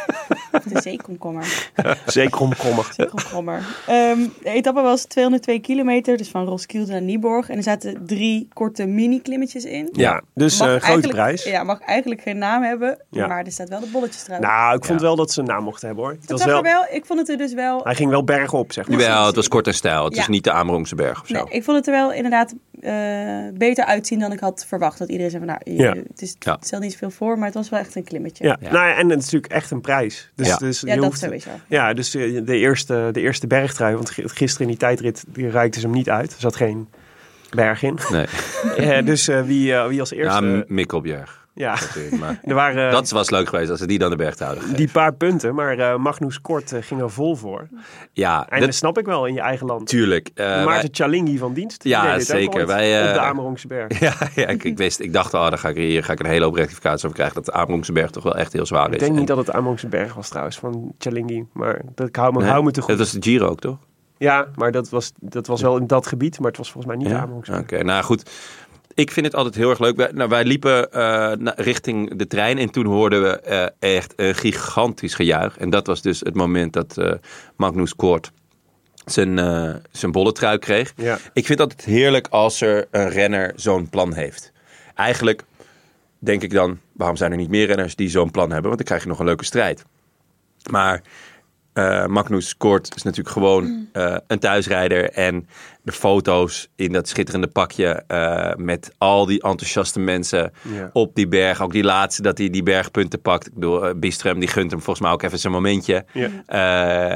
[SPEAKER 4] Of de zeekomkommer.
[SPEAKER 2] Zeker kromkommer.
[SPEAKER 4] Zeekomkommer. Ehm, de etappe was 202 kilometer, dus van Roskilde naar Nieborg. En er zaten drie korte mini-klimmetjes in.
[SPEAKER 2] Ja, dus
[SPEAKER 4] Mag
[SPEAKER 2] eh grote
[SPEAKER 4] eigenlijk-
[SPEAKER 2] prijs.
[SPEAKER 4] Ja, mag eigenlijk geen naam hebben,
[SPEAKER 2] Ja.
[SPEAKER 4] maar er staat wel de bolletjes trouwens.
[SPEAKER 2] Nou, ik vond
[SPEAKER 1] Ja.
[SPEAKER 2] wel dat ze een naam mochten hebben hoor. Het
[SPEAKER 4] Het
[SPEAKER 2] was wel,
[SPEAKER 4] zag er wel, ik vond het er dus wel.
[SPEAKER 2] Hij ging wel bergop, zeg maar.
[SPEAKER 1] Jawel, het was kort en stijl. Het
[SPEAKER 4] Ja.
[SPEAKER 1] is niet de Amerongse berg of zo.
[SPEAKER 4] Nee, ik vond het er wel inderdaad eh, beter uitzien dan ik had verwacht. Dat iedereen zei van nou, je-
[SPEAKER 2] Ja.
[SPEAKER 4] het, is,
[SPEAKER 1] Ja.
[SPEAKER 4] het stelt niet zoveel voor, maar het was wel echt een klimmetje.
[SPEAKER 2] Ja.
[SPEAKER 1] Ja.
[SPEAKER 2] Nou, ja, en het is natuurlijk echt een prijs. Dus,
[SPEAKER 1] Ja.
[SPEAKER 2] dus
[SPEAKER 4] Ja,
[SPEAKER 2] je
[SPEAKER 4] dat
[SPEAKER 2] hoeft-
[SPEAKER 4] sowieso.
[SPEAKER 2] Ja, dus eh, de eerste, de eerste bergtrui. Want gi- gisteren in die tijdrit die reikte ze hem niet uit. Er zat geen berg in.
[SPEAKER 1] Nee,
[SPEAKER 2] Eh, dus eh, wie, eh, wie als
[SPEAKER 1] ja,
[SPEAKER 2] eerste...
[SPEAKER 1] M- Mikkelbjerg.
[SPEAKER 2] ja,
[SPEAKER 1] natuurlijk, Maar
[SPEAKER 2] er waren eh,
[SPEAKER 1] dat was leuk geweest als ze die dan de berg te houden. gegeven.
[SPEAKER 2] die paar punten. Maar eh, Magnus Kort eh, ging er vol voor.
[SPEAKER 1] Ja,
[SPEAKER 2] En dat
[SPEAKER 1] dat,
[SPEAKER 2] snap ik wel in je eigen land.
[SPEAKER 1] tuurlijk. eh, wij-
[SPEAKER 2] Maarten Chalingi van dienst. die
[SPEAKER 1] Ja,
[SPEAKER 2] deed dit ook
[SPEAKER 1] zeker.
[SPEAKER 2] ooit
[SPEAKER 1] Wij, eh,
[SPEAKER 2] Op de Amerongse berg.
[SPEAKER 1] Ja, ja ik, ik wist, ik dacht al, dan ga ik hier ga ik een hele hoop rectificaties over krijgen. Dat de Amerongse berg toch wel echt heel zwaar is.
[SPEAKER 2] Ik denk
[SPEAKER 1] En-
[SPEAKER 2] niet dat het de Amerongse berg was trouwens, van Chalingi. Maar dat, ik hou me,
[SPEAKER 1] Nee,
[SPEAKER 2] hou me te goed.
[SPEAKER 1] Dat was de Giro ook, toch?
[SPEAKER 2] Ja, maar dat was, dat was wel in dat gebied, maar het was volgens mij niet de Amerongse
[SPEAKER 1] Oké,
[SPEAKER 2] berg.
[SPEAKER 1] nou goed. Ik vind het altijd heel erg leuk. Wij, nou, wij liepen eh, na- richting de trein en toen hoorden we eh, echt een gigantisch gejuich. En dat was dus het moment dat eh, Magnus Kort zijn, eh zijn bolletrui kreeg.
[SPEAKER 2] Ja.
[SPEAKER 1] Ik vind altijd heerlijk als er een renner zo'n plan heeft. Eigenlijk denk ik dan, waarom zijn er niet meer renners die zo'n plan hebben? Want dan krijg je nog een leuke strijd. Maar eh, Magnus Kort is natuurlijk gewoon eh, een thuisrijder. En de foto's in dat schitterende pakje eh, met al die enthousiaste mensen
[SPEAKER 2] Ja.
[SPEAKER 1] op die berg. Ook die laatste dat hij die bergpunten pakt. Ik bedoel, eh, Bistrum die gunt hem volgens mij ook even zijn momentje.
[SPEAKER 2] Ja.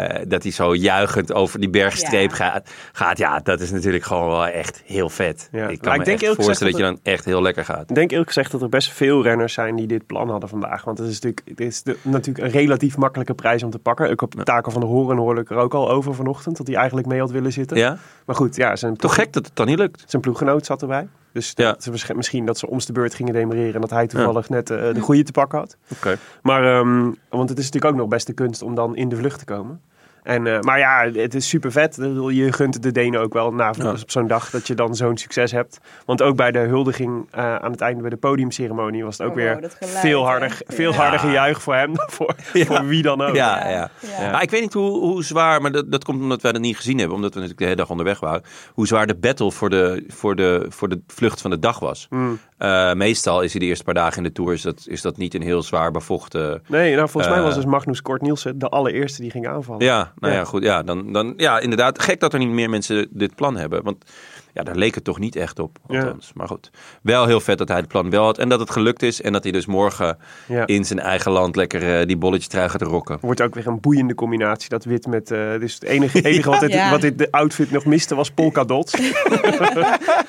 [SPEAKER 1] Eh, dat hij zo juichend over die bergstreep
[SPEAKER 4] Ja.
[SPEAKER 1] gaat, gaat. Ja, dat is natuurlijk gewoon wel echt heel vet.
[SPEAKER 2] Ja.
[SPEAKER 1] Ik
[SPEAKER 2] Maar
[SPEAKER 1] kan me
[SPEAKER 2] ik denk
[SPEAKER 1] echt
[SPEAKER 2] eerlijk gezegd
[SPEAKER 1] voorstellen dat
[SPEAKER 2] dat
[SPEAKER 1] je dan echt heel lekker gaat.
[SPEAKER 2] Ik denk eerlijk gezegd dat er best veel renners zijn die dit plan hadden vandaag. Want het is natuurlijk, het is de- natuurlijk een relatief makkelijke prijs om te pakken. Ik op Taco van de Horen hoorde ik er ook al over vanochtend, dat hij eigenlijk mee had willen zitten.
[SPEAKER 1] Ja?
[SPEAKER 2] Maar goed, ja, zijn,
[SPEAKER 1] Toch gek dat het dan niet lukt.
[SPEAKER 2] zijn ploeggenoot zat erbij. Dus
[SPEAKER 1] Ja.
[SPEAKER 2] dat ze waarsch- misschien dat ze om de beurt gingen demereren en dat hij toevallig net eh, de goede te pakken had.
[SPEAKER 1] Oké.
[SPEAKER 2] Maar, ehm, want het is natuurlijk ook nog best de kunst om dan in de vlucht te komen. En, eh, maar ja, het is super vet. Je gunt de Denen ook wel na,
[SPEAKER 1] Ja.
[SPEAKER 2] op zo'n dag dat je dan zo'n succes hebt. Want ook bij de huldiging eh, aan het einde bij de podiumceremonie was het ook
[SPEAKER 4] Oh,
[SPEAKER 2] weer
[SPEAKER 4] wow, dat geluid,
[SPEAKER 2] veel,
[SPEAKER 4] hè?
[SPEAKER 2] harder,
[SPEAKER 4] Ja.
[SPEAKER 2] veel harder gejuich voor hem dan voor, voor wie dan ook.
[SPEAKER 1] Ja,
[SPEAKER 4] Ja,
[SPEAKER 1] ja.
[SPEAKER 4] ja.
[SPEAKER 1] Maar ik weet niet hoe, hoe zwaar, maar dat, dat komt omdat wij dat niet gezien hebben, omdat we natuurlijk de hele dag onderweg waren, hoe zwaar de battle voor de, voor de, voor de vlucht van de dag was.
[SPEAKER 2] Mm.
[SPEAKER 1] Eh, meestal is hij de eerste paar dagen in de Tour, is dat, is dat niet een heel zwaar bevochten...
[SPEAKER 2] Nee, nou, volgens mij was
[SPEAKER 1] Eh.
[SPEAKER 2] dus Magnus Kort Nielsen de allereerste die ging aanvallen.
[SPEAKER 1] Ja, nou ja,
[SPEAKER 2] Ja.
[SPEAKER 1] goed. Ja, dan, dan, ja, inderdaad. Gek dat er niet meer mensen dit plan hebben. Want ja, daar leek het toch niet echt op.
[SPEAKER 2] Ja.
[SPEAKER 1] Althans. Maar goed, wel heel vet dat hij het plan wel had. En dat het gelukt is. En dat hij dus morgen
[SPEAKER 2] Ja.
[SPEAKER 1] in zijn eigen land lekker eh, die bolletje trui gaat rocken.
[SPEAKER 2] Wordt ook weer een boeiende combinatie, dat wit met... eh, dus het enige, enige wat, dit,
[SPEAKER 4] Ja.
[SPEAKER 2] wat dit de outfit nog miste was polka dots.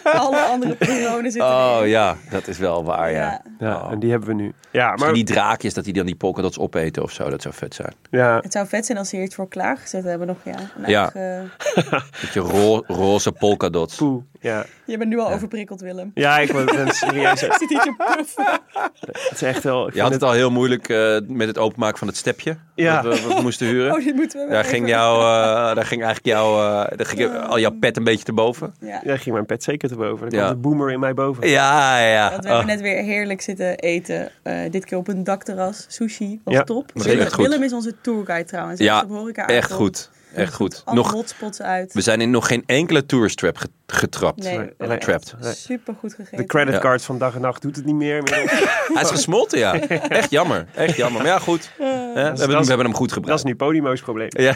[SPEAKER 4] Alle andere personen zitten
[SPEAKER 1] Oh
[SPEAKER 4] erin.
[SPEAKER 1] ja, dat is wel waar, ja.
[SPEAKER 4] Ja.
[SPEAKER 2] Ja,
[SPEAKER 1] Oh.
[SPEAKER 2] en die hebben we nu. Ja, maar...
[SPEAKER 1] Misschien die draakjes, dat die dan die polkadots opeten of zo. Dat zou vet zijn.
[SPEAKER 2] Ja,
[SPEAKER 4] Het zou vet zijn als ze hier iets voor klaargezet hebben nog, ja. eh, Een
[SPEAKER 1] Ja.
[SPEAKER 4] eigen-
[SPEAKER 1] Beetje ro roze polkadots.
[SPEAKER 2] poe. Ja.
[SPEAKER 4] Je bent nu al overprikkeld, Willem.
[SPEAKER 2] Ja, ik ben ben serieus.
[SPEAKER 4] Ik zit hier te puffen.
[SPEAKER 2] Het is echt wel. ik
[SPEAKER 1] Je had
[SPEAKER 2] vind
[SPEAKER 1] het al heel moeilijk eh, met het openmaken van het stepje.
[SPEAKER 2] Ja.
[SPEAKER 1] Dat we, wat we moesten huren.
[SPEAKER 4] Oh, dit moeten we wel
[SPEAKER 1] Daar
[SPEAKER 4] even-
[SPEAKER 1] ging, jou, eh, daar ging eigenlijk jou, eh, daar ging al jouw pet een beetje te boven.
[SPEAKER 4] Ja.
[SPEAKER 2] Ja, ging mijn pet zeker te boven. Er
[SPEAKER 1] Ja.
[SPEAKER 2] komt de boomer in mij boven.
[SPEAKER 1] Ja, ja.
[SPEAKER 4] Want we
[SPEAKER 1] Oh,
[SPEAKER 4] hebben net weer heerlijk zitten eten. Eh, dit keer op een dakterras. Sushi was
[SPEAKER 2] Ja,
[SPEAKER 4] top.
[SPEAKER 1] dat ging echt goed.
[SPEAKER 4] Willem is onze tourguide trouwens. Hij is
[SPEAKER 1] Oh. ja,
[SPEAKER 4] op horeca
[SPEAKER 1] echt
[SPEAKER 4] aankomt.
[SPEAKER 1] goed. Echt goed.
[SPEAKER 4] Alle
[SPEAKER 1] Nog,
[SPEAKER 4] hotspots uit.
[SPEAKER 1] we zijn in nog geen enkele tourist trap ge- getrapt.
[SPEAKER 4] Nee, we hebben
[SPEAKER 2] alleen-
[SPEAKER 1] Trapped.
[SPEAKER 4] echt supergoed gegeten.
[SPEAKER 2] De creditcard
[SPEAKER 1] Ja.
[SPEAKER 2] van dag en nacht doet het niet meer. inmiddels.
[SPEAKER 1] Hij is gesmolten, ja. Echt jammer. Echt jammer. Maar ja, goed. Eh, we, hebben, hem- we hebben hem goed
[SPEAKER 2] Dat is
[SPEAKER 1] gebruikt.
[SPEAKER 2] nu Podimo's probleem.
[SPEAKER 1] Ja.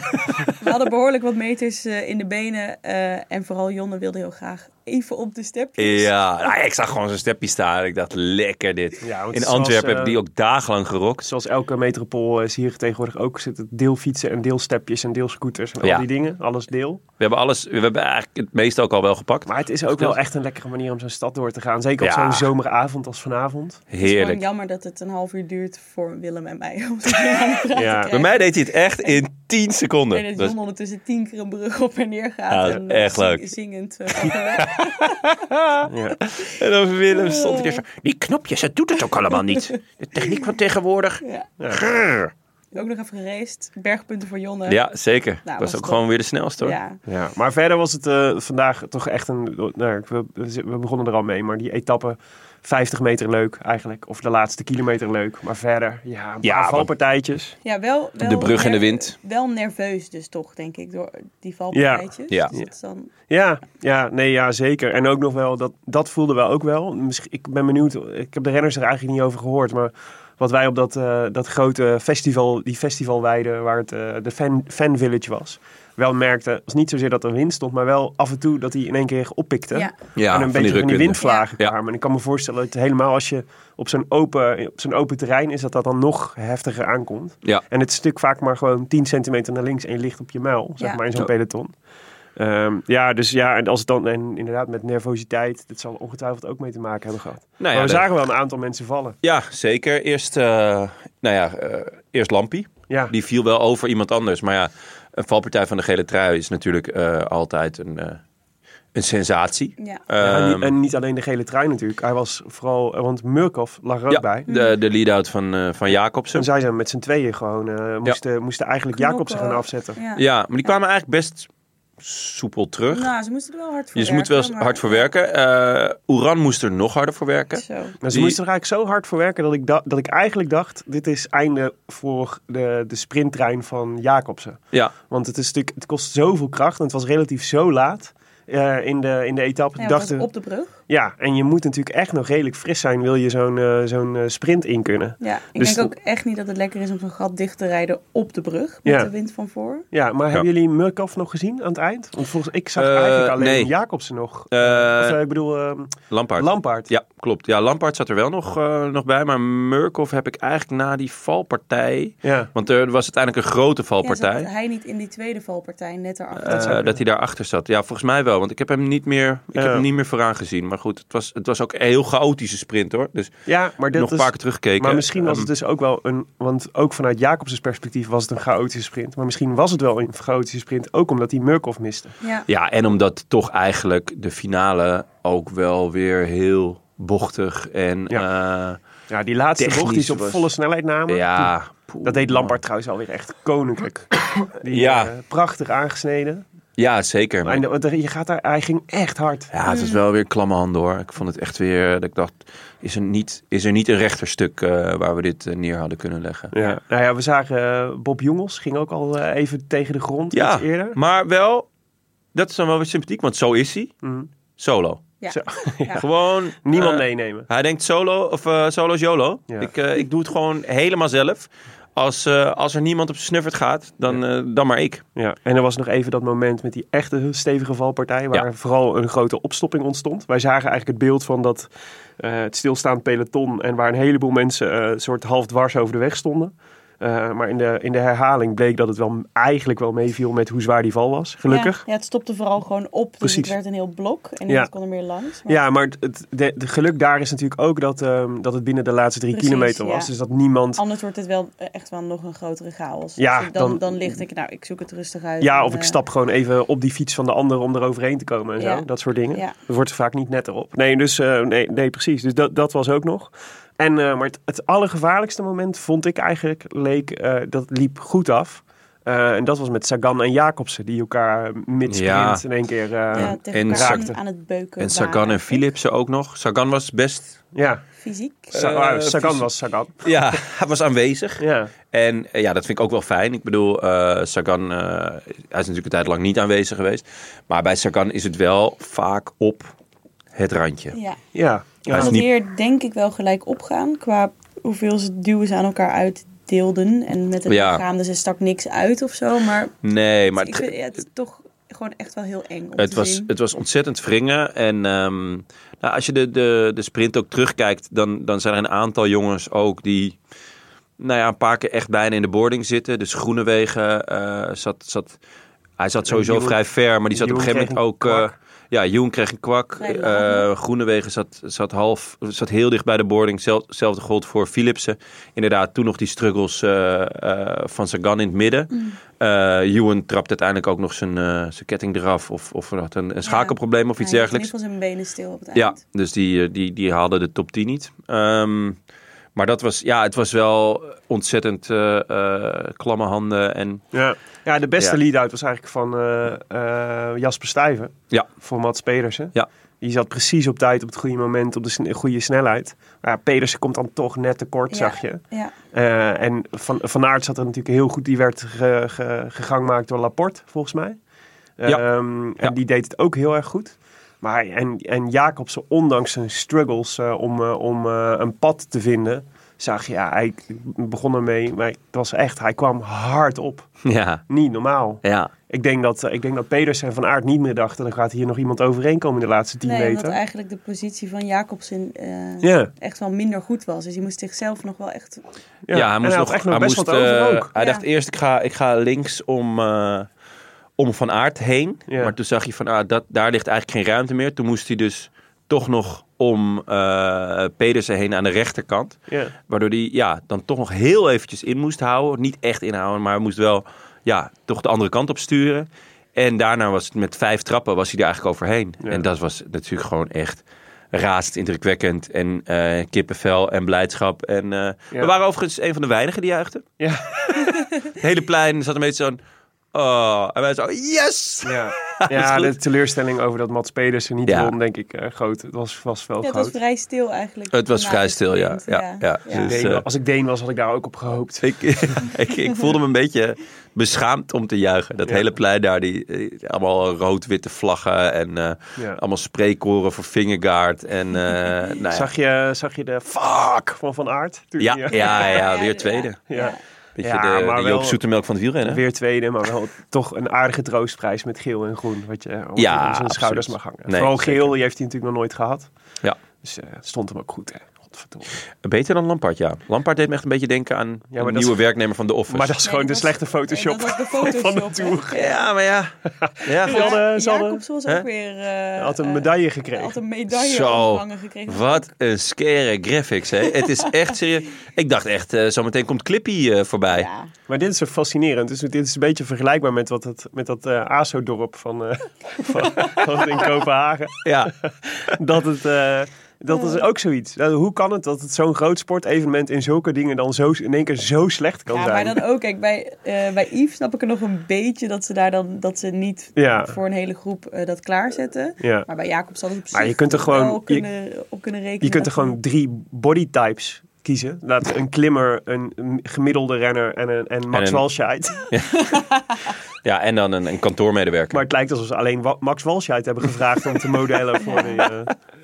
[SPEAKER 4] We hadden behoorlijk wat meters eh, in de benen. eh, en vooral Jonne wilde heel graag even op de stepjes.
[SPEAKER 1] Ja, nou, ik zag gewoon zo'n stepje staan. Ik dacht, lekker dit.
[SPEAKER 2] Ja, want
[SPEAKER 1] in
[SPEAKER 2] zoals,
[SPEAKER 1] Antwerpen
[SPEAKER 2] eh,
[SPEAKER 1] hebben die ook dagenlang gerokt.
[SPEAKER 2] Zoals elke metropool eh, is hier tegenwoordig ook zitten deel fietsen en deelstepjes en deelscooters en
[SPEAKER 1] Ja.
[SPEAKER 2] al die dingen. Alles deel.
[SPEAKER 1] We hebben alles, we hebben eigenlijk het meeste ook al wel gepakt.
[SPEAKER 2] Maar het is ook wel echt een lekkere manier om zo'n stad door te gaan. Zeker op
[SPEAKER 1] Ja.
[SPEAKER 2] zo'n zomeravond als vanavond.
[SPEAKER 4] Het is gewoon
[SPEAKER 1] Heerlijk.
[SPEAKER 4] jammer dat het een half uur duurt voor Willem en mij. Om te gaan praten.
[SPEAKER 2] Ja.
[SPEAKER 1] Bij mij deed hij het echt in 10 seconden.
[SPEAKER 4] En dat
[SPEAKER 1] Dat-
[SPEAKER 4] John ondertussen tien keer een brug op en neer
[SPEAKER 1] Ja,
[SPEAKER 4] gaat.
[SPEAKER 1] dat is
[SPEAKER 4] en eh,
[SPEAKER 1] echt
[SPEAKER 4] zing-
[SPEAKER 1] leuk.
[SPEAKER 4] Zingend. eh,
[SPEAKER 2] Ja.
[SPEAKER 1] En dan Willem stond hij er zo.
[SPEAKER 2] Oh.
[SPEAKER 1] Die knopjes, dat doet het ook allemaal niet. De techniek van tegenwoordig.
[SPEAKER 4] ja.
[SPEAKER 1] Grrr.
[SPEAKER 4] Ook nog even gereest. Bergpunten voor Jonne.
[SPEAKER 1] Ja, zeker.
[SPEAKER 4] was
[SPEAKER 1] was ook
[SPEAKER 4] top.
[SPEAKER 1] gewoon weer de snelste hoor.
[SPEAKER 4] Ja.
[SPEAKER 2] Nou, Ja, maar verder was het eh, vandaag toch echt een. Nou, we, we begonnen er al mee, maar die etappe 50 meter leuk eigenlijk. Of de laatste kilometer leuk. Maar verder, ja, een
[SPEAKER 1] Ja,
[SPEAKER 2] paar
[SPEAKER 1] want-
[SPEAKER 2] valpartijtjes.
[SPEAKER 4] Ja, wel, wel
[SPEAKER 1] De brug en de
[SPEAKER 4] nerve-
[SPEAKER 1] wind.
[SPEAKER 4] Wel nerveus dus toch, denk ik, door die valpartijtjes.
[SPEAKER 1] Ja.
[SPEAKER 4] Dus dat is dan,
[SPEAKER 2] Ja, ja, nee, ja, zeker. En ook nog wel, dat, dat voelde wel ook wel. Misschien, ik ben benieuwd, ik heb de renners er eigenlijk niet over gehoord. Maar wat wij op dat, eh, dat grote festival, die festivalweide waar het eh, de fan, fan Village was... wel merkten, was niet zozeer dat er wind stond... maar wel af en toe dat hij in één keer oppikte.
[SPEAKER 4] ja.
[SPEAKER 1] Ja, van
[SPEAKER 2] en een beetje
[SPEAKER 1] die
[SPEAKER 2] van die
[SPEAKER 1] rukwinden.
[SPEAKER 2] windvlagen
[SPEAKER 1] Ja.
[SPEAKER 2] kwamen. En ik kan me voorstellen dat helemaal als je op zo'n open, op zo'n open terrein is, dat dat dan nog heftiger aankomt.
[SPEAKER 1] Ja.
[SPEAKER 2] En het stuk vaak maar gewoon 10 centimeter naar links en je ligt op je muil, zeg
[SPEAKER 4] Ja.
[SPEAKER 2] maar, in zo'n
[SPEAKER 1] Ja.
[SPEAKER 2] peloton. Ehm, ja, dus ja, en als het dan en inderdaad met nervositeit, dat zal ongetwijfeld ook mee te maken hebben gehad.
[SPEAKER 1] Nou ja,
[SPEAKER 2] maar we
[SPEAKER 1] dat-
[SPEAKER 2] zagen wel een aantal mensen vallen.
[SPEAKER 1] Ja, zeker. Eerst, eh, nou ja, eh, eerst Lampie.
[SPEAKER 2] Ja,
[SPEAKER 1] Die viel wel over iemand anders. Maar ja, een valpartij van de gele trui is natuurlijk eh, altijd een, eh, een sensatie.
[SPEAKER 4] Ja.
[SPEAKER 2] Ja, en,
[SPEAKER 1] Ehm,
[SPEAKER 2] niet, en niet alleen de gele trui natuurlijk. Hij was vooral, eh, want Murkoff lag er ook
[SPEAKER 1] ja,
[SPEAKER 2] bij.
[SPEAKER 1] de, de lead-out van, eh, van Jacobsen.
[SPEAKER 2] En zij zijn met z'n tweeën gewoon, eh, moesten, moesten eigenlijk
[SPEAKER 4] Knokken.
[SPEAKER 2] Jacobsen gaan afzetten.
[SPEAKER 4] Ja.
[SPEAKER 1] Ja, maar die kwamen eigenlijk best soepel terug. Dus
[SPEAKER 4] Nou, ze moesten er wel hard voor
[SPEAKER 1] je
[SPEAKER 4] werken.
[SPEAKER 1] moet wel eens
[SPEAKER 4] maar-
[SPEAKER 1] hard voor werken. Eh Oeran moest er nog harder voor werken.
[SPEAKER 4] Zo.
[SPEAKER 2] Maar ze
[SPEAKER 1] Die-
[SPEAKER 2] moesten er eigenlijk zo hard voor werken dat ik, da- dat ik eigenlijk dacht: dit is einde voor de, de sprinttrein van Jacobsen.
[SPEAKER 1] Ja,
[SPEAKER 2] Want het, is natuurlijk, het kost zoveel kracht en het was relatief zo laat eh, in, de, in de etappe.
[SPEAKER 4] Ja,
[SPEAKER 2] Ik
[SPEAKER 4] want
[SPEAKER 2] dacht,
[SPEAKER 4] dat is op de brug.
[SPEAKER 2] ja, en je moet natuurlijk echt nog redelijk fris zijn, wil je zo'n eh, zo'n eh, sprint in kunnen.
[SPEAKER 4] Ja, ik
[SPEAKER 2] Dus-
[SPEAKER 4] denk ook echt niet dat het lekker is om zo'n gat dicht te rijden op de brug. Met
[SPEAKER 2] Ja.
[SPEAKER 4] de wind van voor.
[SPEAKER 2] Ja, maar hebben jullie Murkoff nog gezien aan het eind? Want volgens ik zag eigenlijk
[SPEAKER 1] Eh,
[SPEAKER 2] alleen
[SPEAKER 1] nee.
[SPEAKER 2] Jacobsen nog.
[SPEAKER 1] Eh,
[SPEAKER 2] Of, eh, ik bedoel, eh,
[SPEAKER 1] Lampaard.
[SPEAKER 2] Lampaard.
[SPEAKER 1] Ja, klopt. Ja, Lampaard zat er wel nog, eh, nog bij. Maar Murkoff heb ik eigenlijk na die valpartij...
[SPEAKER 2] Ja.
[SPEAKER 1] Want er was uiteindelijk een grote
[SPEAKER 4] Ja, zat
[SPEAKER 1] valpartij.
[SPEAKER 4] hij niet in die tweede valpartij net erachter?
[SPEAKER 1] eh, dat hij daarachter zat. Ja, volgens mij wel. Want ik heb hem niet meer, ik
[SPEAKER 2] Ja.
[SPEAKER 1] heb hem niet meer vooraan gezien. Maar goed, het was, het was ook een heel chaotische sprint hoor. Dus
[SPEAKER 2] ja, maar dit
[SPEAKER 1] nog een
[SPEAKER 2] is,
[SPEAKER 1] paar keer terugkeken.
[SPEAKER 2] Maar misschien was
[SPEAKER 1] Ehm,
[SPEAKER 2] het dus ook wel een. Want ook vanuit Jacobs' perspectief was het een chaotische sprint. Maar misschien was het wel een chaotische sprint. Ook omdat hij Murkoff miste.
[SPEAKER 4] Ja.
[SPEAKER 1] Ja, en omdat toch eigenlijk de finale ook wel weer heel bochtig en ja,
[SPEAKER 2] Ja, die laatste
[SPEAKER 1] Technisch
[SPEAKER 2] bocht die ze op
[SPEAKER 1] was-
[SPEAKER 2] volle snelheid namen. die-
[SPEAKER 1] eh, ja, poeh.
[SPEAKER 2] Dat deed Lampard trouwens alweer echt koninklijk. Die,
[SPEAKER 1] Ja.
[SPEAKER 2] eh, prachtig aangesneden.
[SPEAKER 1] ja, zeker. Maar
[SPEAKER 2] En de- want er- je gaat daar, hij ging echt hard.
[SPEAKER 1] ja, het was wel weer klamme handen hoor. Ik vond het echt weer dat ik dacht, is er niet, is er niet een rechterstuk eh, waar we dit eh, neer hadden kunnen leggen.
[SPEAKER 2] Ja. Nou ja, we zagen eh, Bob Jongels ging ook al eh, even tegen de grond
[SPEAKER 1] Ja,
[SPEAKER 2] iets eerder.
[SPEAKER 1] maar wel, dat is dan wel weer sympathiek, want zo is hij.
[SPEAKER 2] Mhm.
[SPEAKER 1] Solo.
[SPEAKER 4] Ja.
[SPEAKER 2] Zo.
[SPEAKER 4] Ja.
[SPEAKER 1] Gewoon
[SPEAKER 2] Niemand
[SPEAKER 1] eh,
[SPEAKER 2] meenemen.
[SPEAKER 1] Hij denkt solo, of eh, solo is YOLO.
[SPEAKER 2] Ja.
[SPEAKER 1] Ik, eh, ik doe het gewoon helemaal zelf. Als, eh, als er niemand op zijn snuffert gaat, dan, eh, dan maar ik.
[SPEAKER 2] Ja, en er was nog even dat moment met die echte stevige valpartij, waar
[SPEAKER 1] Ja.
[SPEAKER 2] vooral een grote opstopping ontstond. Wij zagen eigenlijk het beeld van dat eh, het stilstaand peloton en waar een heleboel mensen eh, soort half dwars over de weg stonden. Eh, maar in de, in de herhaling bleek dat het wel eigenlijk wel meeviel met hoe zwaar die val was, gelukkig.
[SPEAKER 4] Ja, ja, het stopte vooral gewoon op. Dus
[SPEAKER 2] Precies.
[SPEAKER 4] het werd een heel blok. En
[SPEAKER 2] Ja.
[SPEAKER 4] niemand kon er meer langs. Maar
[SPEAKER 2] Ja, maar het, het de, de geluk daar is natuurlijk ook dat, ehm, dat het binnen de laatste drie
[SPEAKER 4] Precies,
[SPEAKER 2] kilometer was.
[SPEAKER 4] ja.
[SPEAKER 2] Dus dat niemand
[SPEAKER 4] anders wordt het wel eh, echt wel nog een grotere chaos.
[SPEAKER 2] Ja,
[SPEAKER 4] Dus dan,
[SPEAKER 2] dan-
[SPEAKER 4] dan, ligt ik, nou, ik zoek het rustig uit.
[SPEAKER 2] Ja,
[SPEAKER 4] en,
[SPEAKER 2] of ik
[SPEAKER 4] eh,
[SPEAKER 2] stap gewoon even op die fiets van de ander om er overheen te komen en
[SPEAKER 4] Ja.
[SPEAKER 2] zo. Dat soort dingen.
[SPEAKER 4] Ja.
[SPEAKER 2] Dat wordt vaak niet netter op. Nee, dus, eh, nee, nee precies. Dus dat, dat was ook nog. En, eh, maar het, het allergevaarlijkste moment vond ik eigenlijk, leek, eh, dat liep goed af. Eh, en dat was met Sagan en Jacobsen, die elkaar mid
[SPEAKER 1] Ja.
[SPEAKER 2] in één keer... eh,
[SPEAKER 4] ja,
[SPEAKER 2] ja.
[SPEAKER 4] tegen
[SPEAKER 1] en
[SPEAKER 4] elkaar
[SPEAKER 2] raakte.
[SPEAKER 4] aan het beuken.
[SPEAKER 1] En
[SPEAKER 4] waren.
[SPEAKER 1] Sagan en Philipsen ook nog. Sagan was best...
[SPEAKER 4] Fysiek.
[SPEAKER 2] Sa-
[SPEAKER 1] Eh,
[SPEAKER 2] ah, Sagan
[SPEAKER 1] fysi-
[SPEAKER 2] was Sagan.
[SPEAKER 1] Ja, hij was aanwezig.
[SPEAKER 2] Ja.
[SPEAKER 1] En eh, ja, dat vind ik ook wel fijn. Ik bedoel, eh, Sagan, eh, hij is natuurlijk een tijd lang niet aanwezig geweest. Maar bij Sagan is het wel vaak op het randje.
[SPEAKER 4] Ja.
[SPEAKER 2] Ja.
[SPEAKER 1] Hij
[SPEAKER 4] Hij
[SPEAKER 1] is
[SPEAKER 4] het
[SPEAKER 1] niet-
[SPEAKER 4] weer denk ik wel gelijk opgaan qua hoeveel ze duwen ze aan elkaar uitdeelden en met het
[SPEAKER 1] Ja.
[SPEAKER 4] lichaam, dus er stak niks uit of zo, maar,
[SPEAKER 1] Nee, maar
[SPEAKER 4] Dus ik
[SPEAKER 1] het-
[SPEAKER 4] vind, ja, het is toch gewoon echt wel heel eng om
[SPEAKER 1] Het
[SPEAKER 4] te
[SPEAKER 1] was,
[SPEAKER 4] zien.
[SPEAKER 1] het was ontzettend wringen. En ehm, nou, als je de, de, de sprint ook terugkijkt, dan, dan zijn er een aantal jongens ook die nou ja, een paar keer echt bijna in de boarding zitten. Dus Groenewegen eh zat, zat... Hij zat sowieso
[SPEAKER 2] Joen-
[SPEAKER 1] vrij ver, maar die zat op een
[SPEAKER 2] Joen
[SPEAKER 1] gegeven moment ook...
[SPEAKER 2] kreeg een
[SPEAKER 1] eh, ja, Joen kreeg een kwak.
[SPEAKER 4] Vrij
[SPEAKER 1] Eh,
[SPEAKER 4] laag.
[SPEAKER 1] Groenewegen zat, zat, half, zat heel dicht bij de boarding. Zel- Hetzelfde gold voor Philipsen. Inderdaad, toen nog die struggles eh, eh, van Sagan in het midden. Eh Ewan trapt uiteindelijk ook nog zijn, eh, zijn ketting eraf. Of, of had een, een schakelprobleem of
[SPEAKER 4] Hij
[SPEAKER 1] iets
[SPEAKER 4] hield in
[SPEAKER 1] dergelijks.
[SPEAKER 4] ieder geval zijn benen stil op het
[SPEAKER 1] Ja,
[SPEAKER 4] eind.
[SPEAKER 1] dus die, eh, die, die haalde de top 10 niet. Ehm, Maar dat was, ja, het was wel ontzettend eh, eh, klamme handen. En
[SPEAKER 2] Ja, ja de beste
[SPEAKER 1] Ja.
[SPEAKER 2] lead-out was eigenlijk van eh, eh, Jasper Stuyven.
[SPEAKER 1] Ja.
[SPEAKER 2] Voor Mats Pedersen.
[SPEAKER 1] Ja.
[SPEAKER 2] Die zat precies op tijd, op het goede moment, op de sne- goede snelheid. Maar ja, Pedersen komt dan toch net tekort,
[SPEAKER 4] Ja.
[SPEAKER 2] zag je.
[SPEAKER 4] Ja.
[SPEAKER 2] Eh, en Van, van Aert zat er natuurlijk heel goed. Die werd ge, ge- gegangmaakt door Laporte, volgens mij.
[SPEAKER 1] Ja.
[SPEAKER 2] Ehm, En
[SPEAKER 1] Ja.
[SPEAKER 2] die deed het ook heel erg goed. Maar en, en Jacobsen, ondanks zijn struggles eh, om, eh, om eh, een pad te vinden... zag je, ja, hij begon ermee, maar het was echt, hij kwam hard op.
[SPEAKER 1] ja,
[SPEAKER 2] Niet normaal.
[SPEAKER 1] ja.
[SPEAKER 2] Ik denk dat, eh, ik denk dat Pedersen en Van Aert niet meer dachten... dan gaat hier nog iemand overheen komen in de laatste 10
[SPEAKER 4] Nee, omdat
[SPEAKER 2] meter.
[SPEAKER 4] eigenlijk de positie van Jacobsen eh,
[SPEAKER 2] Ja,
[SPEAKER 4] echt wel minder goed was. Dus hij moest zichzelf nog wel echt...
[SPEAKER 2] ja.
[SPEAKER 1] Ja, hij
[SPEAKER 2] En
[SPEAKER 1] moest
[SPEAKER 2] had
[SPEAKER 1] nog,
[SPEAKER 2] echt nog
[SPEAKER 1] hij
[SPEAKER 2] best
[SPEAKER 1] moest,
[SPEAKER 2] wat over
[SPEAKER 1] eh,
[SPEAKER 2] ook.
[SPEAKER 1] Hij
[SPEAKER 4] Ja.
[SPEAKER 1] dacht eerst, ik ga, ik ga links om, eh, om Van Aert heen.
[SPEAKER 2] Ja.
[SPEAKER 1] Maar toen zag je van, ah, dat, daar ligt eigenlijk geen ruimte meer. Toen moest hij dus toch nog om eh, Pedersen heen aan de rechterkant.
[SPEAKER 2] Ja.
[SPEAKER 1] Waardoor hij ja, dan toch nog heel eventjes in moest houden. Niet echt inhouden, maar hij moest wel ja, toch de andere kant op sturen. En daarna was het met vijf trappen was hij er eigenlijk overheen.
[SPEAKER 2] Ja.
[SPEAKER 1] En dat was natuurlijk gewoon echt raast indrukwekkend. En eh, kippenvel en blijdschap. En, eh, We waren overigens een van de weinigen die juichten.
[SPEAKER 2] Ja.
[SPEAKER 1] Het hele plein zat een beetje zo'n... Oh, en wij zo, yes!
[SPEAKER 2] Ja,
[SPEAKER 1] Is
[SPEAKER 2] ja
[SPEAKER 1] goed.
[SPEAKER 2] de teleurstelling over dat Mats Pedersen niet
[SPEAKER 1] Ja.
[SPEAKER 2] won, denk ik, eh, groot. Het was, was wel
[SPEAKER 4] Ja, het was
[SPEAKER 2] groot.
[SPEAKER 4] vrij stil eigenlijk.
[SPEAKER 1] Het was
[SPEAKER 4] na
[SPEAKER 1] vrij
[SPEAKER 4] dit
[SPEAKER 1] stil, ja.
[SPEAKER 4] moment.
[SPEAKER 1] ja, ja.
[SPEAKER 4] Ja.
[SPEAKER 1] Dus,
[SPEAKER 2] Deen-
[SPEAKER 1] eh,
[SPEAKER 2] als ik Deen was, had ik daar ook op gehoopt.
[SPEAKER 1] ik, ik, ik voelde me een beetje beschaamd om te juichen. Dat
[SPEAKER 2] Ja.
[SPEAKER 1] hele plein daar, die, eh, allemaal rood-witte vlaggen en eh,
[SPEAKER 2] Ja.
[SPEAKER 1] allemaal spreekkoren voor Fingergaard. En, eh, nou ja.
[SPEAKER 2] Zag, je, zag je de fuck van Van Aert? Toen
[SPEAKER 1] Ja,
[SPEAKER 2] hij,
[SPEAKER 1] ja,
[SPEAKER 2] eh,
[SPEAKER 1] ja,
[SPEAKER 4] Ja, ja.
[SPEAKER 1] weer tweede.
[SPEAKER 2] ja.
[SPEAKER 1] Beetje
[SPEAKER 2] Ja,
[SPEAKER 1] de,
[SPEAKER 2] maar
[SPEAKER 1] de
[SPEAKER 2] wel-
[SPEAKER 1] Joop Zoetemelk van het wielrennen.
[SPEAKER 2] Weer tweede, maar wel toch een aardige troostprijs met geel en groen. Wat je eh, om
[SPEAKER 1] Ja,
[SPEAKER 2] ja, zijn
[SPEAKER 1] absoluut.
[SPEAKER 2] schouders mag hangen.
[SPEAKER 1] Nee,
[SPEAKER 2] Vooral
[SPEAKER 1] zeker.
[SPEAKER 2] geel, die heeft hij natuurlijk nog nooit gehad.
[SPEAKER 1] Ja.
[SPEAKER 2] Dus eh, het stond hem ook goed, hè. Godverdomme.
[SPEAKER 1] Beter dan Lampard, ja. Lampard deed me echt een beetje denken aan
[SPEAKER 2] maar
[SPEAKER 1] een
[SPEAKER 2] dat is-
[SPEAKER 1] nieuwe werknemer van de Office.
[SPEAKER 2] Maar dat is
[SPEAKER 4] Nee,
[SPEAKER 2] gewoon
[SPEAKER 4] dat
[SPEAKER 2] de
[SPEAKER 4] was-
[SPEAKER 2] slechte Photoshop.
[SPEAKER 4] Nee, dat was de
[SPEAKER 2] van de
[SPEAKER 4] Photoshop, hè.
[SPEAKER 2] Tour.
[SPEAKER 1] Ja, maar ja. ja
[SPEAKER 4] Ja,
[SPEAKER 2] Ze hadden- ze hadden-
[SPEAKER 4] Jacobsen was
[SPEAKER 1] Hè?
[SPEAKER 4] ook weer... eh,
[SPEAKER 2] had een
[SPEAKER 4] eh,
[SPEAKER 2] medaille gekregen.
[SPEAKER 4] had een medaille
[SPEAKER 1] Zo,
[SPEAKER 4] ontvangen gekregen.
[SPEAKER 1] Wat een scare graphics, hè? Het is echt serieus. Ik dacht echt, eh, zometeen komt Clippy eh, voorbij.
[SPEAKER 4] Ja.
[SPEAKER 2] Maar dit is zo fascinerend. Dus dit is een beetje vergelijkbaar met, wat het, met dat eh ASO-dorp van, eh, van, van in Kopenhagen.
[SPEAKER 1] Ja.
[SPEAKER 2] dat het. eh, dat is ook zoiets. Nou, hoe kan het dat het zo'n groot sportevenement in zulke dingen dan zo, in één keer zo slecht kan
[SPEAKER 4] Ja, maar
[SPEAKER 2] zijn?
[SPEAKER 4] dan ook. Kijk, bij, eh, bij Yves snap ik er nog een beetje dat ze daar dan dat ze niet
[SPEAKER 2] Ja.
[SPEAKER 4] voor een hele groep eh, dat klaarzetten.
[SPEAKER 2] Ja.
[SPEAKER 4] Maar bij Jacob zal het op zich
[SPEAKER 2] Maar je kunt er
[SPEAKER 4] toch
[SPEAKER 2] gewoon-
[SPEAKER 4] wel
[SPEAKER 2] je-
[SPEAKER 4] kunnen, op kunnen rekenen.
[SPEAKER 2] Je kunt er
[SPEAKER 4] dat
[SPEAKER 2] gewoon drie bodytypes kiezen. Laat een klimmer, een een gemiddelde renner en, een, en Max
[SPEAKER 1] En een-
[SPEAKER 2] Walscheid.
[SPEAKER 1] ja, en dan een, een kantoormedewerker.
[SPEAKER 2] Maar het lijkt alsof ze alleen Wa- Max Walscheid hebben gevraagd om te modellen voor die... eh,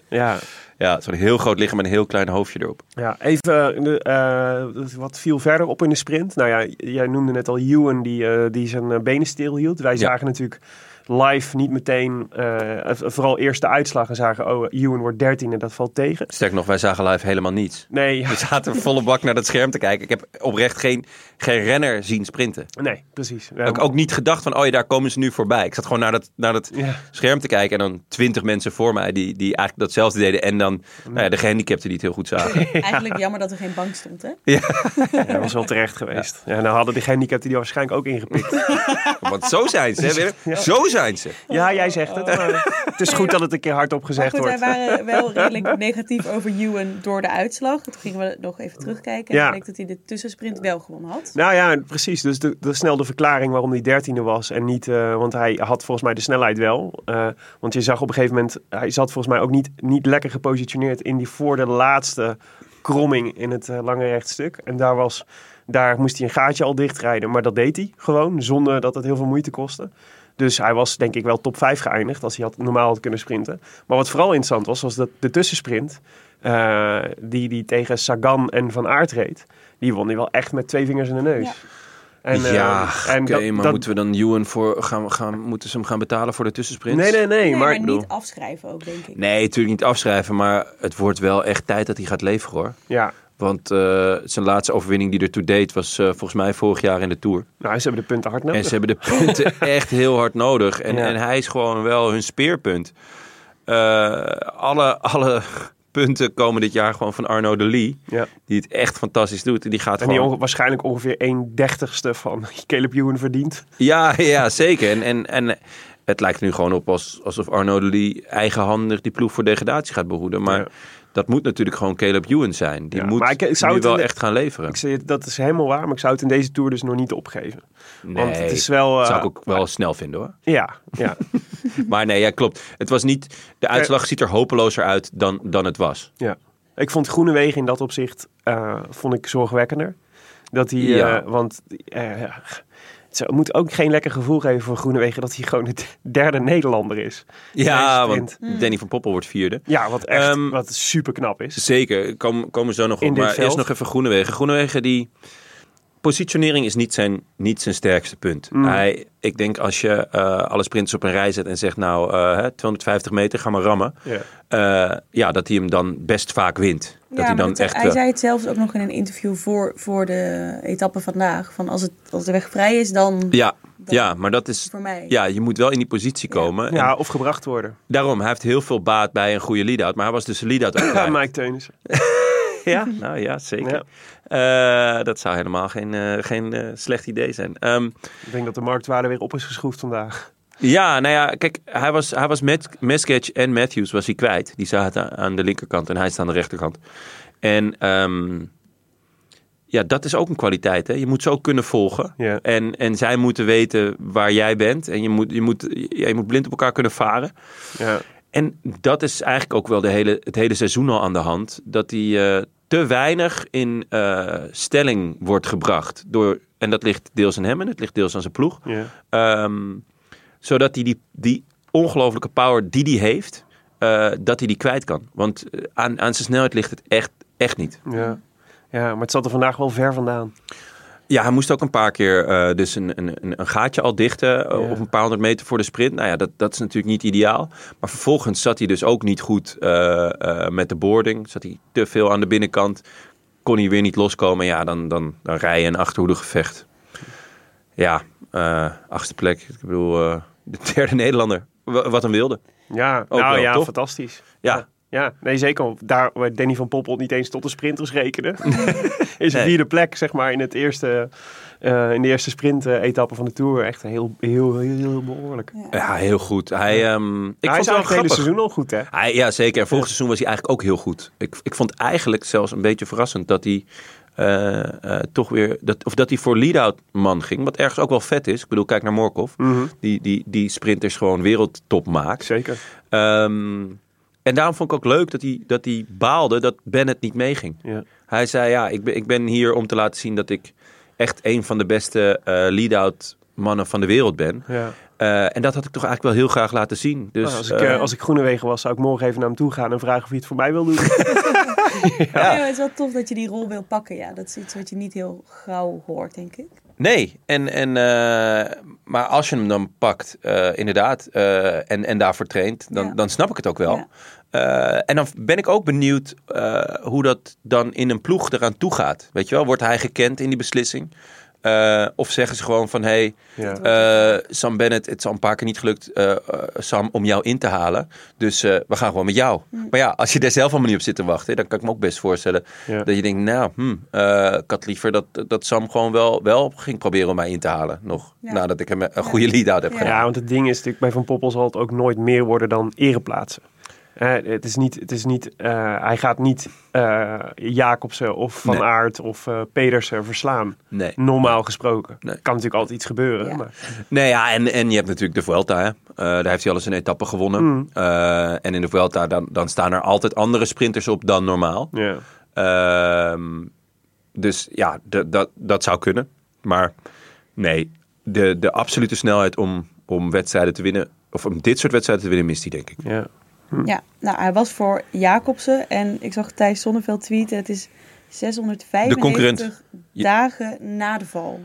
[SPEAKER 2] ja.
[SPEAKER 1] Ja, zo'n heel groot lichaam en een heel klein hoofdje erop.
[SPEAKER 2] Ja, even eh, de, eh, wat viel verder op in de sprint. Nou ja, jij noemde net al Ewan die, eh, die zijn eh, benen stilhield. Wij zagen natuurlijk live niet meteen, eh, eh, vooral eerst de uitslag en zagen, oh, Ewan wordt 13 en dat valt tegen.
[SPEAKER 1] Sterk nog, wij zagen live helemaal niets.
[SPEAKER 2] Nee, ja,
[SPEAKER 1] We zaten volle bak naar dat scherm te kijken. Ik heb oprecht geen, geen renner zien sprinten.
[SPEAKER 2] nee, precies. Ja,
[SPEAKER 1] Ook, ook niet gedacht van, oh ja, daar komen ze nu voorbij. Ik zat gewoon naar dat, naar dat
[SPEAKER 2] Ja.
[SPEAKER 1] scherm te kijken. En dan twintig mensen voor mij die, die eigenlijk datzelfde deden. En dan nou ja, de gehandicapten die het heel goed zagen.
[SPEAKER 4] Eigenlijk jammer dat er geen bank stond, hè?
[SPEAKER 2] ja, dat was wel terecht geweest. Ja, nou hadden die gehandicapten die waarschijnlijk ook ingepikt.
[SPEAKER 1] Want zo zijn ze, hè, Willem? Zo zijn ze.
[SPEAKER 2] Ja, jij zegt het. maar het is goed dat het een keer hardop
[SPEAKER 4] Maar
[SPEAKER 2] gezegd
[SPEAKER 4] goed, wij
[SPEAKER 2] wordt.
[SPEAKER 4] waren wel redelijk negatief over Ewan door de uitslag. Toen gingen we nog even terugkijken. En
[SPEAKER 2] Ja.
[SPEAKER 4] bleek dat hij de tussensprint wel gewonnen had.
[SPEAKER 2] Nou ja, precies. Dus de, de snel de verklaring waarom hij dertiende was en niet... eh, want hij had volgens mij de snelheid wel. Eh, want je zag op een gegeven moment... Hij zat volgens mij ook niet, niet lekker gepositioneerd in die voor de laatste kromming in het eh, lange rechtstuk. En daar, was, daar moest hij een gaatje al dichtrijden. Maar dat deed hij gewoon, zonder dat het heel veel moeite kostte. Dus hij was denk ik wel top 5 geëindigd als hij had, normaal had kunnen sprinten. Maar wat vooral interessant was, was dat de tussensprint... eh, die, die tegen Sagan en Van Aert reed... Die won hij wel echt met twee vingers in de neus.
[SPEAKER 4] Ja.
[SPEAKER 2] En, eh,
[SPEAKER 1] ja,
[SPEAKER 2] en
[SPEAKER 1] oké,
[SPEAKER 2] dat-
[SPEAKER 1] maar
[SPEAKER 2] dat-
[SPEAKER 1] moeten we dan Ewan voor gaan, gaan, moeten ze hem gaan betalen voor de tussensprint?
[SPEAKER 2] Nee, nee, nee.
[SPEAKER 4] Nee,
[SPEAKER 2] maar
[SPEAKER 4] maar,
[SPEAKER 1] bedoel-
[SPEAKER 4] niet afschrijven ook, denk ik.
[SPEAKER 1] Nee, natuurlijk niet afschrijven, maar het wordt wel echt tijd dat hij gaat leveren hoor.
[SPEAKER 2] ja,
[SPEAKER 1] Want eh, zijn laatste overwinning die ertoe deed was eh, volgens mij vorig jaar in de Tour.
[SPEAKER 2] nou, ze hebben de punten hard
[SPEAKER 1] En ze
[SPEAKER 2] nodig.
[SPEAKER 1] hebben de punten echt heel hard nodig. En,
[SPEAKER 2] Ja.
[SPEAKER 1] en hij is gewoon wel hun speerpunt. Eh, alle, alle punten komen dit jaar gewoon van Arno de Lee.
[SPEAKER 2] Ja.
[SPEAKER 1] Die het echt fantastisch doet. En die gaat
[SPEAKER 2] En die
[SPEAKER 1] gewoon...
[SPEAKER 2] onge- waarschijnlijk ongeveer 1 dertigste van Caleb Ewan verdient.
[SPEAKER 1] Ja, ja, zeker. En, en, en Het lijkt er nu gewoon op als, alsof Arno de Lee eigenhandig die ploeg voor degradatie gaat behoeden. Maar
[SPEAKER 2] Ja.
[SPEAKER 1] dat moet natuurlijk gewoon Caleb Ewan zijn. Die
[SPEAKER 2] Ja,
[SPEAKER 1] moet
[SPEAKER 2] maar ik- ik zou
[SPEAKER 1] nu
[SPEAKER 2] het
[SPEAKER 1] wel
[SPEAKER 2] in de-
[SPEAKER 1] echt gaan leveren.
[SPEAKER 2] Ik zei, dat is helemaal waar, maar ik zou het in deze tour dus nog niet opgeven. Want het is wel... eh,
[SPEAKER 1] dat zou ik ook wel snel vinden hoor.
[SPEAKER 2] Ja, ja,
[SPEAKER 1] Maar nee, ja, klopt. Het was niet, de uitslag ziet er hopelozer uit dan, dan het was.
[SPEAKER 2] ja. Ik vond Groenewegen in dat opzicht eh, vond ik zorgwekkender. Dat hij, eh,
[SPEAKER 1] Ja.
[SPEAKER 2] want eh, het zou- moet ook geen lekker gevoel geven voor Groenewegen dat hij gewoon de derde Nederlander is.
[SPEAKER 1] Ja,
[SPEAKER 2] Deze
[SPEAKER 1] want
[SPEAKER 2] sprint.
[SPEAKER 4] Hmm.
[SPEAKER 1] Danny van Poppel wordt vierde.
[SPEAKER 2] Ja, wat echt,
[SPEAKER 1] Ehm,
[SPEAKER 2] wat super knap is.
[SPEAKER 1] Zeker, kom, komen we zo nog
[SPEAKER 2] In
[SPEAKER 1] op.
[SPEAKER 2] dit
[SPEAKER 1] Maar
[SPEAKER 2] veld?
[SPEAKER 1] eerst nog even Groenewegen. Groenewegen, die positionering is niet zijn, niet zijn sterkste punt.
[SPEAKER 2] Hmm.
[SPEAKER 1] Hij, ik denk als je eh, alle sprinters op een rij zet en zegt nou eh, hè, 250 meter, ga maar rammen.
[SPEAKER 2] Ja.
[SPEAKER 1] Eh, ja, dat hij hem dan best vaak wint. Dat
[SPEAKER 4] ja,
[SPEAKER 1] hij dan
[SPEAKER 4] maar dat-
[SPEAKER 1] echt...
[SPEAKER 4] hij
[SPEAKER 1] eh,
[SPEAKER 4] zei het zelfs ook nog in een interview voor, voor de etappe vandaag. Van als, het, als de weg vrij is, dan
[SPEAKER 1] ja, ja, maar dat is...
[SPEAKER 4] voor mij.
[SPEAKER 1] Ja, je moet wel in die positie komen. En
[SPEAKER 2] Ja, of gebracht worden.
[SPEAKER 1] Daarom, hij heeft heel veel baat bij een goede lead-out. Maar hij was dus een lead-out ook
[SPEAKER 2] Ja,
[SPEAKER 1] kwijt.
[SPEAKER 2] Mike Teunissen.
[SPEAKER 1] Ja, nou ja, zeker. Eh, dat zou helemaal geen, eh, geen eh, slecht idee zijn. Ehm,
[SPEAKER 2] Ik denk dat de marktwaarde weer op is geschroefd vandaag.
[SPEAKER 1] ja, nou ja, kijk, hij was, hij was met Mesketch en Matthews was hij kwijt. Die zaten aan de linkerkant en hij staat aan de rechterkant. En ehm, ja, dat is ook een kwaliteit. Hè? Je moet ze ook kunnen volgen.
[SPEAKER 2] Ja.
[SPEAKER 1] En, en zij moeten weten waar jij bent. En je moet, je, moet, ja, je moet blind op elkaar kunnen varen.
[SPEAKER 2] Ja.
[SPEAKER 1] En dat is eigenlijk ook wel de hele, het hele seizoen al aan de hand. Dat hij eh, te weinig in eh, stelling wordt gebracht. Door, en dat ligt deels aan hem en het ligt deels aan zijn ploeg.
[SPEAKER 2] Ja.
[SPEAKER 1] Ehm, zodat hij die, die ongelofelijke power die hij heeft, eh, dat hij die kwijt kan. Want eh, aan, aan zijn snelheid ligt het echt, echt niet.
[SPEAKER 2] Ja. ja, maar het zat er vandaag wel ver vandaan.
[SPEAKER 1] Ja, hij moest ook een paar keer eh, dus een, een, een- een gaatje al dichten eh,
[SPEAKER 2] Ja.
[SPEAKER 1] op een paar honderd meter voor de sprint. Nou ja, dat, dat is natuurlijk niet ideaal. Maar vervolgens zat hij dus ook niet goed eh, eh, met de boarding. Zat hij te veel aan de binnenkant. Kon hij weer niet loskomen. Ja, dan, dan, dan rij je een achterhoedegevecht. Ja, eh, achtste plek. Ik bedoel, eh, de derde Nederlander. Wa- wat een wilde.
[SPEAKER 2] Ja,
[SPEAKER 1] Ook
[SPEAKER 2] nou
[SPEAKER 1] wel,
[SPEAKER 2] ja,
[SPEAKER 1] toch?
[SPEAKER 2] fantastisch.
[SPEAKER 1] Ja,
[SPEAKER 2] Ja, nee zeker. Daar waar Danny van Poppel niet eens tot de sprinters rekenen. is een
[SPEAKER 1] Nee.
[SPEAKER 2] vierde plek, zeg maar, in, het eerste, eh, in de eerste sprint-etappe van de Tour. Echt heel, heel, heel, heel behoorlijk. Nou,
[SPEAKER 4] Ja.
[SPEAKER 1] ja heel goed. Hij, ehm, ik
[SPEAKER 2] hij
[SPEAKER 1] vond
[SPEAKER 2] is
[SPEAKER 1] het wel
[SPEAKER 2] eigenlijk het hele
[SPEAKER 1] grappig.
[SPEAKER 2] seizoen al goed, hè?
[SPEAKER 1] Hij, ja, zeker. En vorig seizoen was hij eigenlijk ook heel goed. Ik, ik vond eigenlijk zelfs een beetje verrassend dat hij eh, eh, toch weer... Dat, of dat hij voor lead-out man ging. Wat ergens ook wel vet is. Ik bedoel, kijk naar Morkov.
[SPEAKER 2] Mhm.
[SPEAKER 1] Die, die, die sprinters gewoon wereldtop maakt.
[SPEAKER 2] Zeker.
[SPEAKER 1] Ehm, en daarom vond ik ook leuk dat hij, dat hij baalde dat Bennett niet meeging.
[SPEAKER 2] Ja.
[SPEAKER 1] Hij zei, ja, ik ben, ik ben hier om te laten zien dat ik echt een van de beste eh lead-out mannen van de wereld ben.
[SPEAKER 2] Ja.
[SPEAKER 1] Eh, en dat had ik toch eigenlijk wel heel graag laten zien. Dus,
[SPEAKER 2] Nou, als, ik,
[SPEAKER 1] eh,
[SPEAKER 2] eh, als ik Groenewegen was, zou ik morgen even naar hem toe gaan en vragen of hij het voor mij wil doen.
[SPEAKER 4] Nee, maar het is wel tof dat je die rol wil pakken. Ja, dat is iets wat je niet heel gauw hoort, denk ik.
[SPEAKER 1] Nee, en, en, eh, maar als je hem dan pakt, eh, inderdaad, eh, en, en daarvoor traint, dan,
[SPEAKER 4] Ja.
[SPEAKER 1] dan snap ik het ook wel.
[SPEAKER 4] Ja.
[SPEAKER 1] Eh, en dan ben ik ook benieuwd eh, hoe dat dan in een ploeg eraan toe gaat. Weet je wel, wordt hij gekend in die beslissing? Eh, of zeggen ze gewoon van, hey,
[SPEAKER 2] ja.
[SPEAKER 1] eh, Sam Bennett, het is al een paar keer niet gelukt, eh, eh, Sam, om jou in te halen. Dus eh, we gaan gewoon met jou.
[SPEAKER 4] Mm.
[SPEAKER 1] Maar ja, als je daar zelf allemaal niet op zit te wachten, dan kan ik me ook best voorstellen
[SPEAKER 2] Ja.
[SPEAKER 1] dat je denkt, nou, hm, eh, ik had liever dat, dat Sam gewoon wel, wel ging proberen om mij in te halen. Nog
[SPEAKER 4] Ja.
[SPEAKER 1] nadat ik hem een goede lead-out heb
[SPEAKER 4] Ja.
[SPEAKER 1] gedaan.
[SPEAKER 2] Ja, want het ding is natuurlijk, bij Van Poppel zal het ook nooit meer worden dan ereplaatsen. Eh, het is niet, het is niet eh, hij gaat niet eh, Jacobsen of Van
[SPEAKER 1] Nee.
[SPEAKER 2] Aert of eh, Pedersen verslaan.
[SPEAKER 1] Nee.
[SPEAKER 2] Normaal gesproken.
[SPEAKER 1] Nee.
[SPEAKER 2] Kan natuurlijk altijd iets gebeuren.
[SPEAKER 4] Ja.
[SPEAKER 2] Maar,
[SPEAKER 1] Nee, ja, en, en je hebt natuurlijk de Vuelta. Hè? Eh, daar heeft hij al eens een etappe gewonnen. Eh, en in de Vuelta dan, dan staan er altijd andere sprinters op dan normaal.
[SPEAKER 2] ja.
[SPEAKER 1] Ehm, dus ja, d- dat- dat zou kunnen. Maar nee, de, de absolute snelheid om, om wedstrijden te winnen, of om dit soort wedstrijden te winnen, mist hij denk ik.
[SPEAKER 2] Ja.
[SPEAKER 1] Hm.
[SPEAKER 4] Ja, nou, hij was voor Jacobsen. En ik zag Thijs Zonneveld tweeten. Het is
[SPEAKER 1] De concurrent.
[SPEAKER 4] 695 dagen na de val.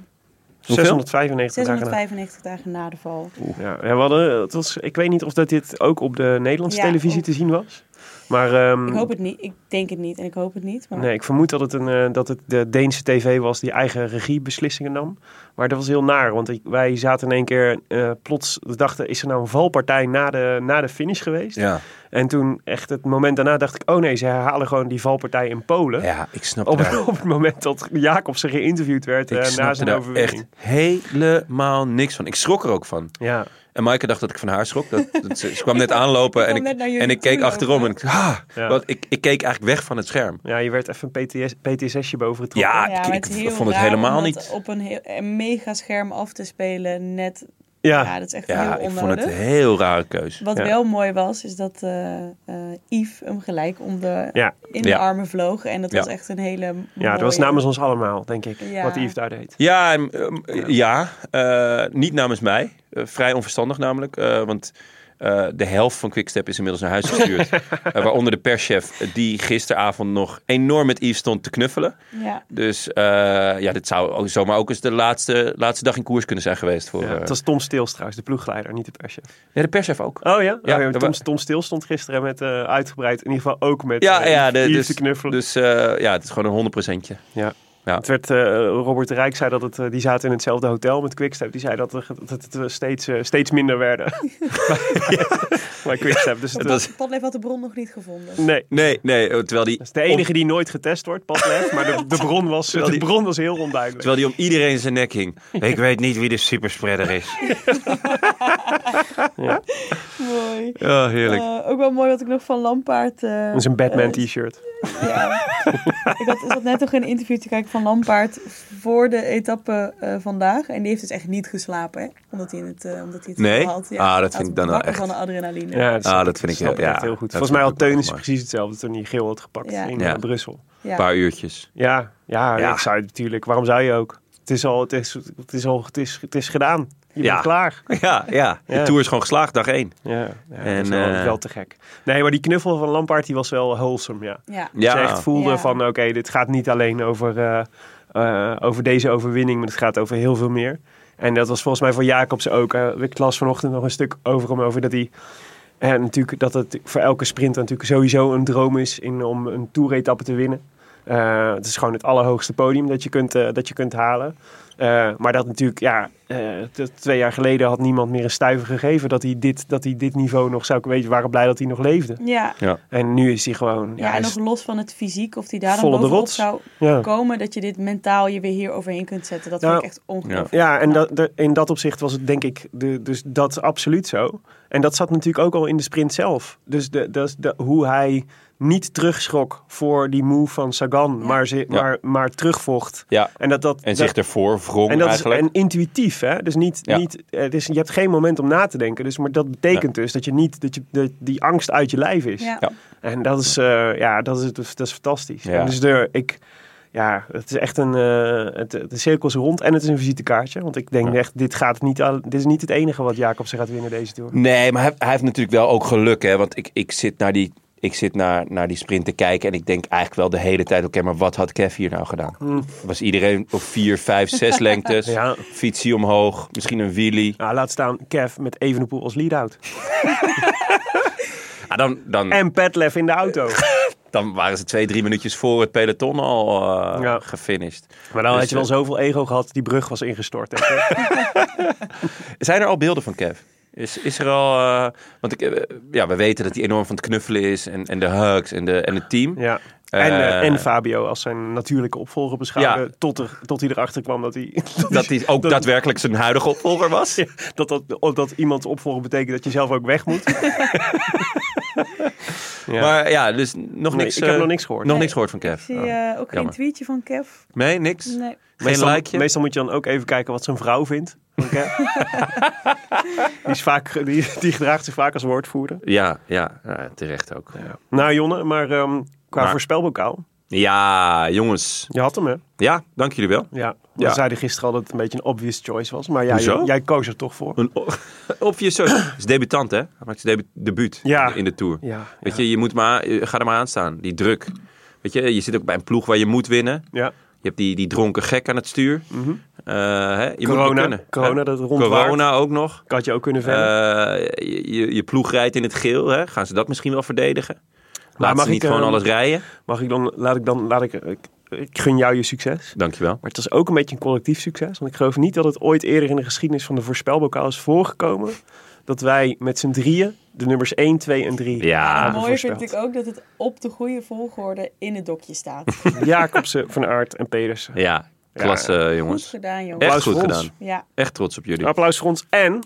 [SPEAKER 2] 695 dagen na.
[SPEAKER 4] 695 dagen na de val.
[SPEAKER 2] Ja, ja, we hadden, het was, ik weet niet of dat dit ook op de Nederlandse
[SPEAKER 4] Ja,
[SPEAKER 2] televisie
[SPEAKER 4] ook.
[SPEAKER 2] te zien was. Maar ehm,
[SPEAKER 4] Ik
[SPEAKER 1] Hm.
[SPEAKER 4] hoop het niet. Ik denk het niet en ik hoop het niet. Maar
[SPEAKER 2] Nee, ik vermoed dat het, een, eh, dat het de Deense tv was die eigen regiebeslissingen nam. Maar dat was heel naar, want ik- wij zaten in één keer eh, plots, we dachten, is er nou een valpartij na de, na de finish geweest?
[SPEAKER 1] Ja,
[SPEAKER 2] En toen echt het moment daarna dacht ik, oh nee, ze herhalen gewoon die valpartij in Polen.
[SPEAKER 1] ja ik snap
[SPEAKER 2] Op,
[SPEAKER 1] daar-
[SPEAKER 2] op het moment dat Jacobsen geïnterviewd werd eh,
[SPEAKER 1] Ik
[SPEAKER 2] na
[SPEAKER 1] snap
[SPEAKER 2] zijn
[SPEAKER 1] daar
[SPEAKER 2] overwinning.
[SPEAKER 1] echt helemaal niks van. Ik schrok er ook van.
[SPEAKER 2] Ja,
[SPEAKER 1] En Maaike dacht dat ik van haar schrok. Dat, dat ze, ze kwam net aanlopen
[SPEAKER 4] kwam
[SPEAKER 1] en,
[SPEAKER 4] net naar
[SPEAKER 1] ik,
[SPEAKER 4] jullie
[SPEAKER 1] en ik keek
[SPEAKER 4] toe
[SPEAKER 1] achterom.
[SPEAKER 4] lopen.
[SPEAKER 1] En ik, ah,
[SPEAKER 2] Ja.
[SPEAKER 1] want ik, ik keek eigenlijk weg van het scherm.
[SPEAKER 2] Ja, je werd even een PTS, PTSSje boven getrokken.
[SPEAKER 1] Ja.
[SPEAKER 4] Ja, maar
[SPEAKER 1] Ah, ik-
[SPEAKER 4] het is
[SPEAKER 1] ik
[SPEAKER 4] heel
[SPEAKER 1] vond het
[SPEAKER 4] raar
[SPEAKER 1] helemaal
[SPEAKER 4] om dat
[SPEAKER 1] niet.
[SPEAKER 4] op een, heel, een mega scherm af te spelen. Net, ja,
[SPEAKER 2] Ja.
[SPEAKER 4] dat is echt
[SPEAKER 1] Ah, Ja,
[SPEAKER 4] heel
[SPEAKER 1] ik vond het
[SPEAKER 4] onnodig.
[SPEAKER 1] een heel rare keus.
[SPEAKER 4] Wat
[SPEAKER 2] ja.
[SPEAKER 4] wel mooi was, is dat eh eh, Yves hem gelijk om de,
[SPEAKER 2] Ja.
[SPEAKER 4] in de
[SPEAKER 1] Ja.
[SPEAKER 4] armen vloog. En dat
[SPEAKER 1] Ja.
[SPEAKER 4] was echt een hele
[SPEAKER 2] Ja, dat was
[SPEAKER 4] mooie-
[SPEAKER 2] namens ons allemaal, denk ik,
[SPEAKER 4] Ja.
[SPEAKER 2] wat Yves daar deed.
[SPEAKER 1] Ja, en, ehm, ja eh, niet namens mij. Eh, vrij onverstandig namelijk. eh, want eh, de helft van Quickstep is inmiddels naar huis gestuurd. Eh, waaronder de perschef eh, die gisteravond nog enorm met Yves stond te knuffelen.
[SPEAKER 4] Ja.
[SPEAKER 1] Dus eh, ja, dit zou ook zomaar ook eens de laatste, laatste dag in koers kunnen zijn geweest. Voor,
[SPEAKER 2] Ja,
[SPEAKER 1] eh,
[SPEAKER 2] het was Tom Stils trouwens, de ploegleider, niet de perschef.
[SPEAKER 1] Nee, de perschef ook.
[SPEAKER 2] Oh ja?
[SPEAKER 1] Ja,
[SPEAKER 2] Oh ja,
[SPEAKER 1] daar
[SPEAKER 2] Tom,
[SPEAKER 1] wa-
[SPEAKER 2] Tom Stils stond gisteren met eh, uitgebreid, in ieder geval ook met
[SPEAKER 1] Ja,
[SPEAKER 2] eh,
[SPEAKER 1] ja,
[SPEAKER 2] Yves-
[SPEAKER 1] de- dus,
[SPEAKER 2] Yves te knuffelen.
[SPEAKER 1] dus eh, ja, het is gewoon een 100 procentje.
[SPEAKER 2] Ja.
[SPEAKER 1] Ja.
[SPEAKER 2] Het werd, eh, Robert de Rijk zei dat het, eh, die zaten in hetzelfde hotel met Quickstep. Die zei dat, er- dat het eh, steeds, eh, steeds minder werden. Maar Quickstep, dus het was...
[SPEAKER 4] Padlef had de bron nog niet gevonden.
[SPEAKER 2] Nee.
[SPEAKER 1] Nee, nee, eh, terwijl die,
[SPEAKER 2] Dat is de enige die nooit getest wordt, Padlef. Maar de, de, bron was,
[SPEAKER 1] Terwijl
[SPEAKER 2] de
[SPEAKER 1] die-
[SPEAKER 2] bron was heel onduidelijk.
[SPEAKER 1] terwijl die om iedereen zijn nek hing. Ik weet niet wie de superspreader is.
[SPEAKER 4] Mooi.
[SPEAKER 1] Ja, heerlijk.
[SPEAKER 4] Eh, ook wel mooi wat ik nog van Lampaard... eh,
[SPEAKER 2] Dat is een Batman
[SPEAKER 4] eh,
[SPEAKER 2] t-shirt.
[SPEAKER 4] Ja. ik had, zat net nog in een interview te kijken van Lampaard voor de etappe eh, vandaag. En die heeft dus echt niet geslapen, hè? Omdat hij het, eh, omdat hij het
[SPEAKER 1] Nee?
[SPEAKER 4] had.
[SPEAKER 1] Ah, dat
[SPEAKER 4] Hij
[SPEAKER 1] vind
[SPEAKER 4] was
[SPEAKER 1] ik dan wel
[SPEAKER 4] wakker
[SPEAKER 1] echt.
[SPEAKER 4] van de adrenaline.
[SPEAKER 2] Ja,
[SPEAKER 1] Ah,
[SPEAKER 2] snap
[SPEAKER 1] dat vind ik
[SPEAKER 2] snap
[SPEAKER 1] heel- ja,
[SPEAKER 2] echt heel goed.
[SPEAKER 1] dat
[SPEAKER 2] Volgens mij
[SPEAKER 1] vind ik ook wel
[SPEAKER 2] had Teunis
[SPEAKER 1] mooi.
[SPEAKER 2] precies hetzelfde toen hij geel had gepakt
[SPEAKER 4] Ja.
[SPEAKER 2] in
[SPEAKER 1] Ja.
[SPEAKER 2] eh, Brussel.
[SPEAKER 4] Ja.
[SPEAKER 1] Een paar uurtjes.
[SPEAKER 2] Ja, ja,
[SPEAKER 1] Ja.
[SPEAKER 2] ik zou het natuurlijk. Waarom zou je ook? Het is al, het is, het is al, het is, het is gedaan. Je
[SPEAKER 1] Ja.
[SPEAKER 2] bent klaar.
[SPEAKER 1] Ja, ja. De
[SPEAKER 2] Ja.
[SPEAKER 1] Tour is gewoon geslaagd, dag één.
[SPEAKER 2] Ja, ja en,
[SPEAKER 1] En,
[SPEAKER 2] dat is wel,
[SPEAKER 1] eh,
[SPEAKER 2] wel te gek. Nee, maar die knuffel van Lampaard die was wel wholesome, ja.
[SPEAKER 4] Ja.
[SPEAKER 1] Ja.
[SPEAKER 2] Ze echt voelde
[SPEAKER 4] Ja.
[SPEAKER 2] van, oké, dit gaat niet alleen over, eh, eh, over deze overwinning, maar het gaat over heel veel meer. En dat was volgens mij voor Jacobs ook. eh ik las vanochtend nog een stuk over hem, over dat hij... En natuurlijk dat het voor elke sprinter natuurlijk sowieso een droom is in, om een toeretappe te winnen. Eh, het is gewoon het allerhoogste podium dat je kunt, eh, dat je kunt halen. Eh, maar dat natuurlijk, ja, eh, t- twee jaar geleden had niemand meer een stuiver gegeven dat hij dit, dat hij dit niveau nog zou kunnen weten. We waren blij dat hij nog leefde.
[SPEAKER 4] Ja.
[SPEAKER 2] En nu is hij gewoon, ja,
[SPEAKER 4] Ja, en
[SPEAKER 2] is-
[SPEAKER 4] nog los van het fysiek, of die daar dan
[SPEAKER 2] Vol op de
[SPEAKER 4] bovenop
[SPEAKER 2] rots.
[SPEAKER 4] zou
[SPEAKER 2] ja.
[SPEAKER 4] komen, dat je dit mentaal je weer hier overheen kunt zetten. Dat
[SPEAKER 2] Nou,
[SPEAKER 4] vind ik echt ongelooflijk.
[SPEAKER 2] Ja, en dat, de- in dat opzicht was het denk ik, de, dus dat is absoluut zo. En dat zat natuurlijk ook al in de sprint zelf. Dus de, dat is de, hoe hij niet terugschrok voor die move van Sagan, maar, ze, maar, maar terugvocht.
[SPEAKER 1] Ja.
[SPEAKER 2] En dat, dat,
[SPEAKER 1] En zich ervoor wrong
[SPEAKER 2] en dat is
[SPEAKER 1] eigenlijk.
[SPEAKER 2] en intuïtief, hè? Dus niet,
[SPEAKER 1] Ja.
[SPEAKER 2] niet, eh, dus je hebt geen moment om na te denken. Dus, maar dat betekent dus dat je niet dat je dat die angst uit je lijf is.
[SPEAKER 4] Ja.
[SPEAKER 1] Ja.
[SPEAKER 2] En dat is, eh, ja, dat is, dat is fantastisch.
[SPEAKER 1] Ja.
[SPEAKER 2] En Dus de, ik, ja, het is echt een, eh, het, de cirkel is rond en het is een visitekaartje. Want ik denk
[SPEAKER 1] Ja.
[SPEAKER 2] echt, dit, gaat niet, al- dit is niet het enige wat Jacobsen gaat winnen deze Tour.
[SPEAKER 1] Nee, maar hij, hij heeft natuurlijk wel ook geluk. Hè? Want ik, ik zit, naar die, ik zit naar, naar die sprint te kijken. En ik denk eigenlijk wel de hele tijd: oké, maar wat had Kev hier nou gedaan? Was iedereen op vier, vijf, zes lengtes?
[SPEAKER 2] Hmm. Ja.
[SPEAKER 1] Fietsie omhoog, misschien een wheelie.
[SPEAKER 2] Nou, laat staan Kev met Evenepoel als lead-out.
[SPEAKER 1] Ah, dan, dan,
[SPEAKER 2] En Petlev in de auto.
[SPEAKER 1] dan waren ze twee, drie minuutjes voor het peloton al eh,
[SPEAKER 2] Ja.
[SPEAKER 1] gefinished.
[SPEAKER 2] Maar dan
[SPEAKER 1] Dus,
[SPEAKER 2] had je wel
[SPEAKER 1] eh,
[SPEAKER 2] zoveel ego gehad, die brug was ingestort. denk ik.
[SPEAKER 1] Zijn er al beelden van Kev? Is, is er al. eh, want ik, eh, ja, we weten dat hij enorm van het knuffelen is. En, en de hugs en, de, en het team.
[SPEAKER 2] Ja. En, eh,
[SPEAKER 1] Eh,
[SPEAKER 2] en Fabio als zijn natuurlijke opvolger beschouwde.
[SPEAKER 1] Ja.
[SPEAKER 2] Tot, er, tot hij erachter kwam dat hij.
[SPEAKER 1] Dat hij ook daadwerkelijk zijn huidige opvolger was.
[SPEAKER 2] dat, dat, dat iemand opvolgen betekent dat je zelf ook weg moet. ja.
[SPEAKER 1] Maar ja, dus nog
[SPEAKER 2] Nee,
[SPEAKER 1] niks.
[SPEAKER 2] ik heb
[SPEAKER 1] eh,
[SPEAKER 2] nog niks gehoord.
[SPEAKER 1] Nog
[SPEAKER 4] Nee.
[SPEAKER 1] niks gehoord van Kev.
[SPEAKER 4] Ik zie
[SPEAKER 1] Oh.
[SPEAKER 4] eh, ook geen
[SPEAKER 1] jammer.
[SPEAKER 4] tweetje van Kev.
[SPEAKER 1] Nee, niks.
[SPEAKER 4] Nee.
[SPEAKER 1] Geen
[SPEAKER 2] meestal,
[SPEAKER 1] likeje.
[SPEAKER 2] meestal moet je dan ook even kijken wat zijn vrouw vindt. Oké. die, is vaak, die, die gedraagt zich vaak als woordvoerder.
[SPEAKER 1] Ja, ja, ja, terecht ook. Ja,
[SPEAKER 2] Nou, Jonne, maar ehm, qua
[SPEAKER 1] Maar-
[SPEAKER 2] voorspelbokaal.
[SPEAKER 1] jongens.
[SPEAKER 2] Je had hem, hè?
[SPEAKER 1] Ja, dank jullie wel.
[SPEAKER 2] Ja.
[SPEAKER 1] Ja.
[SPEAKER 2] We zeiden gisteren al dat het een beetje een obvious choice was. Maar jij,
[SPEAKER 1] Hoezo?
[SPEAKER 2] jij koos er toch voor.
[SPEAKER 1] Een o- op je zo. is debutant, hè? Hij maakt zijn debu- debuut
[SPEAKER 2] Ja.
[SPEAKER 1] in de- in de Tour.
[SPEAKER 2] Ja,
[SPEAKER 1] Weet
[SPEAKER 2] ja.
[SPEAKER 1] je, je moet maar, eh, ga er maar aan staan. Die druk. Weet je, je zit ook bij een ploeg waar je moet winnen.
[SPEAKER 2] Ja.
[SPEAKER 1] Je hebt die, die dronken gek aan het stuur. Eh, hè? Je moet
[SPEAKER 2] Mhm. Corona.
[SPEAKER 1] het kunnen.
[SPEAKER 2] Corona,
[SPEAKER 1] Ja.
[SPEAKER 2] dat rondwaart.
[SPEAKER 1] Corona ook nog.
[SPEAKER 2] Ik had je ook kunnen vellen.
[SPEAKER 1] Eh, je, je- je ploeg rijdt in het geel. Hè? Gaan ze dat misschien wel verdedigen? Laat
[SPEAKER 2] mag
[SPEAKER 1] ze niet
[SPEAKER 2] ik,
[SPEAKER 1] gewoon
[SPEAKER 2] ehm,
[SPEAKER 1] alles rijden.
[SPEAKER 2] Mag ik dan, laat ik dan, laat ik, ik, ik gun jou je succes.
[SPEAKER 1] Dankjewel.
[SPEAKER 2] Maar het is ook een beetje een collectief succes. Want ik geloof niet dat het ooit eerder in de geschiedenis van de voorspelbokaal is voorgekomen. Dat wij met z'n drieën de nummers 1, 2 en 3.
[SPEAKER 1] Ja.
[SPEAKER 2] dat
[SPEAKER 4] Mooi
[SPEAKER 2] voorspelt.
[SPEAKER 4] vind ik ook dat het op de goede volgorde in het dokje staat.
[SPEAKER 2] Jacobsen, Van Aert en Pedersen.
[SPEAKER 1] Ja, klasse
[SPEAKER 4] Goed
[SPEAKER 1] jongens.
[SPEAKER 4] gedaan, jongens.
[SPEAKER 1] Echt
[SPEAKER 2] Applaus
[SPEAKER 1] goed
[SPEAKER 2] voor ons.
[SPEAKER 1] gedaan.
[SPEAKER 4] Ja.
[SPEAKER 1] Echt trots op jullie.
[SPEAKER 2] Applaus voor ons en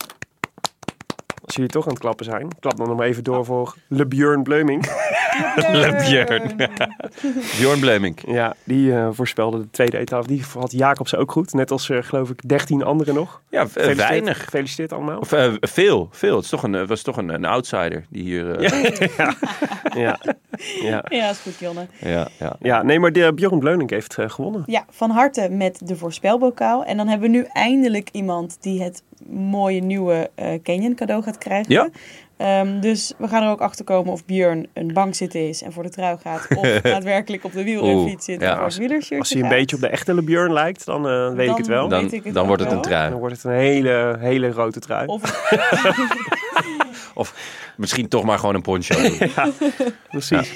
[SPEAKER 2] Als jullie toch aan het klappen zijn, klap dan nog maar even door voor LeBjörn Bleuming.
[SPEAKER 1] Le Björn. Bjorn Blemink.
[SPEAKER 2] Ja, die eh, voorspelde de tweede etappe. Die had Jacobsen ook goed. Net als, eh, geloof ik, 13 anderen nog.
[SPEAKER 1] Ja, v- eh,
[SPEAKER 2] Gefeliciteerd.
[SPEAKER 1] weinig.
[SPEAKER 2] Gefeliciteerd allemaal.
[SPEAKER 1] Of eh, veel, veel. Het is toch een, eh, was toch een, een outsider die hier... eh,
[SPEAKER 2] Ja, ja.
[SPEAKER 4] Ja, is goed, Jonne.
[SPEAKER 1] ja, ja.
[SPEAKER 2] ja nee, maar de- Björn Bleuming heeft eh, gewonnen.
[SPEAKER 4] Ja, van harte met de voorspelbokaal. En dan hebben we nu eindelijk iemand die het mooie nieuwe eh Canyon cadeau gaat krijgen.
[SPEAKER 1] Ja.
[SPEAKER 4] Ehm, dus we gaan er ook achter komen of Björn een bankzitter is en voor de trui gaat. Of daadwerkelijk op de wielrenfiets zit
[SPEAKER 1] Oeh, ja.
[SPEAKER 4] en voor het wielershirt
[SPEAKER 2] Als hij een beetje op de echte LeBjörn lijkt, dan eh, weet ik het wel.
[SPEAKER 4] Dan
[SPEAKER 1] Dan,
[SPEAKER 4] weet ik het
[SPEAKER 1] dan wordt
[SPEAKER 4] ook
[SPEAKER 1] het een
[SPEAKER 4] wel.
[SPEAKER 2] Dan
[SPEAKER 1] trui.
[SPEAKER 2] wordt het een hele, hele grote trui.
[SPEAKER 4] Of
[SPEAKER 1] Misschien toch maar gewoon een poncho.
[SPEAKER 2] Precies.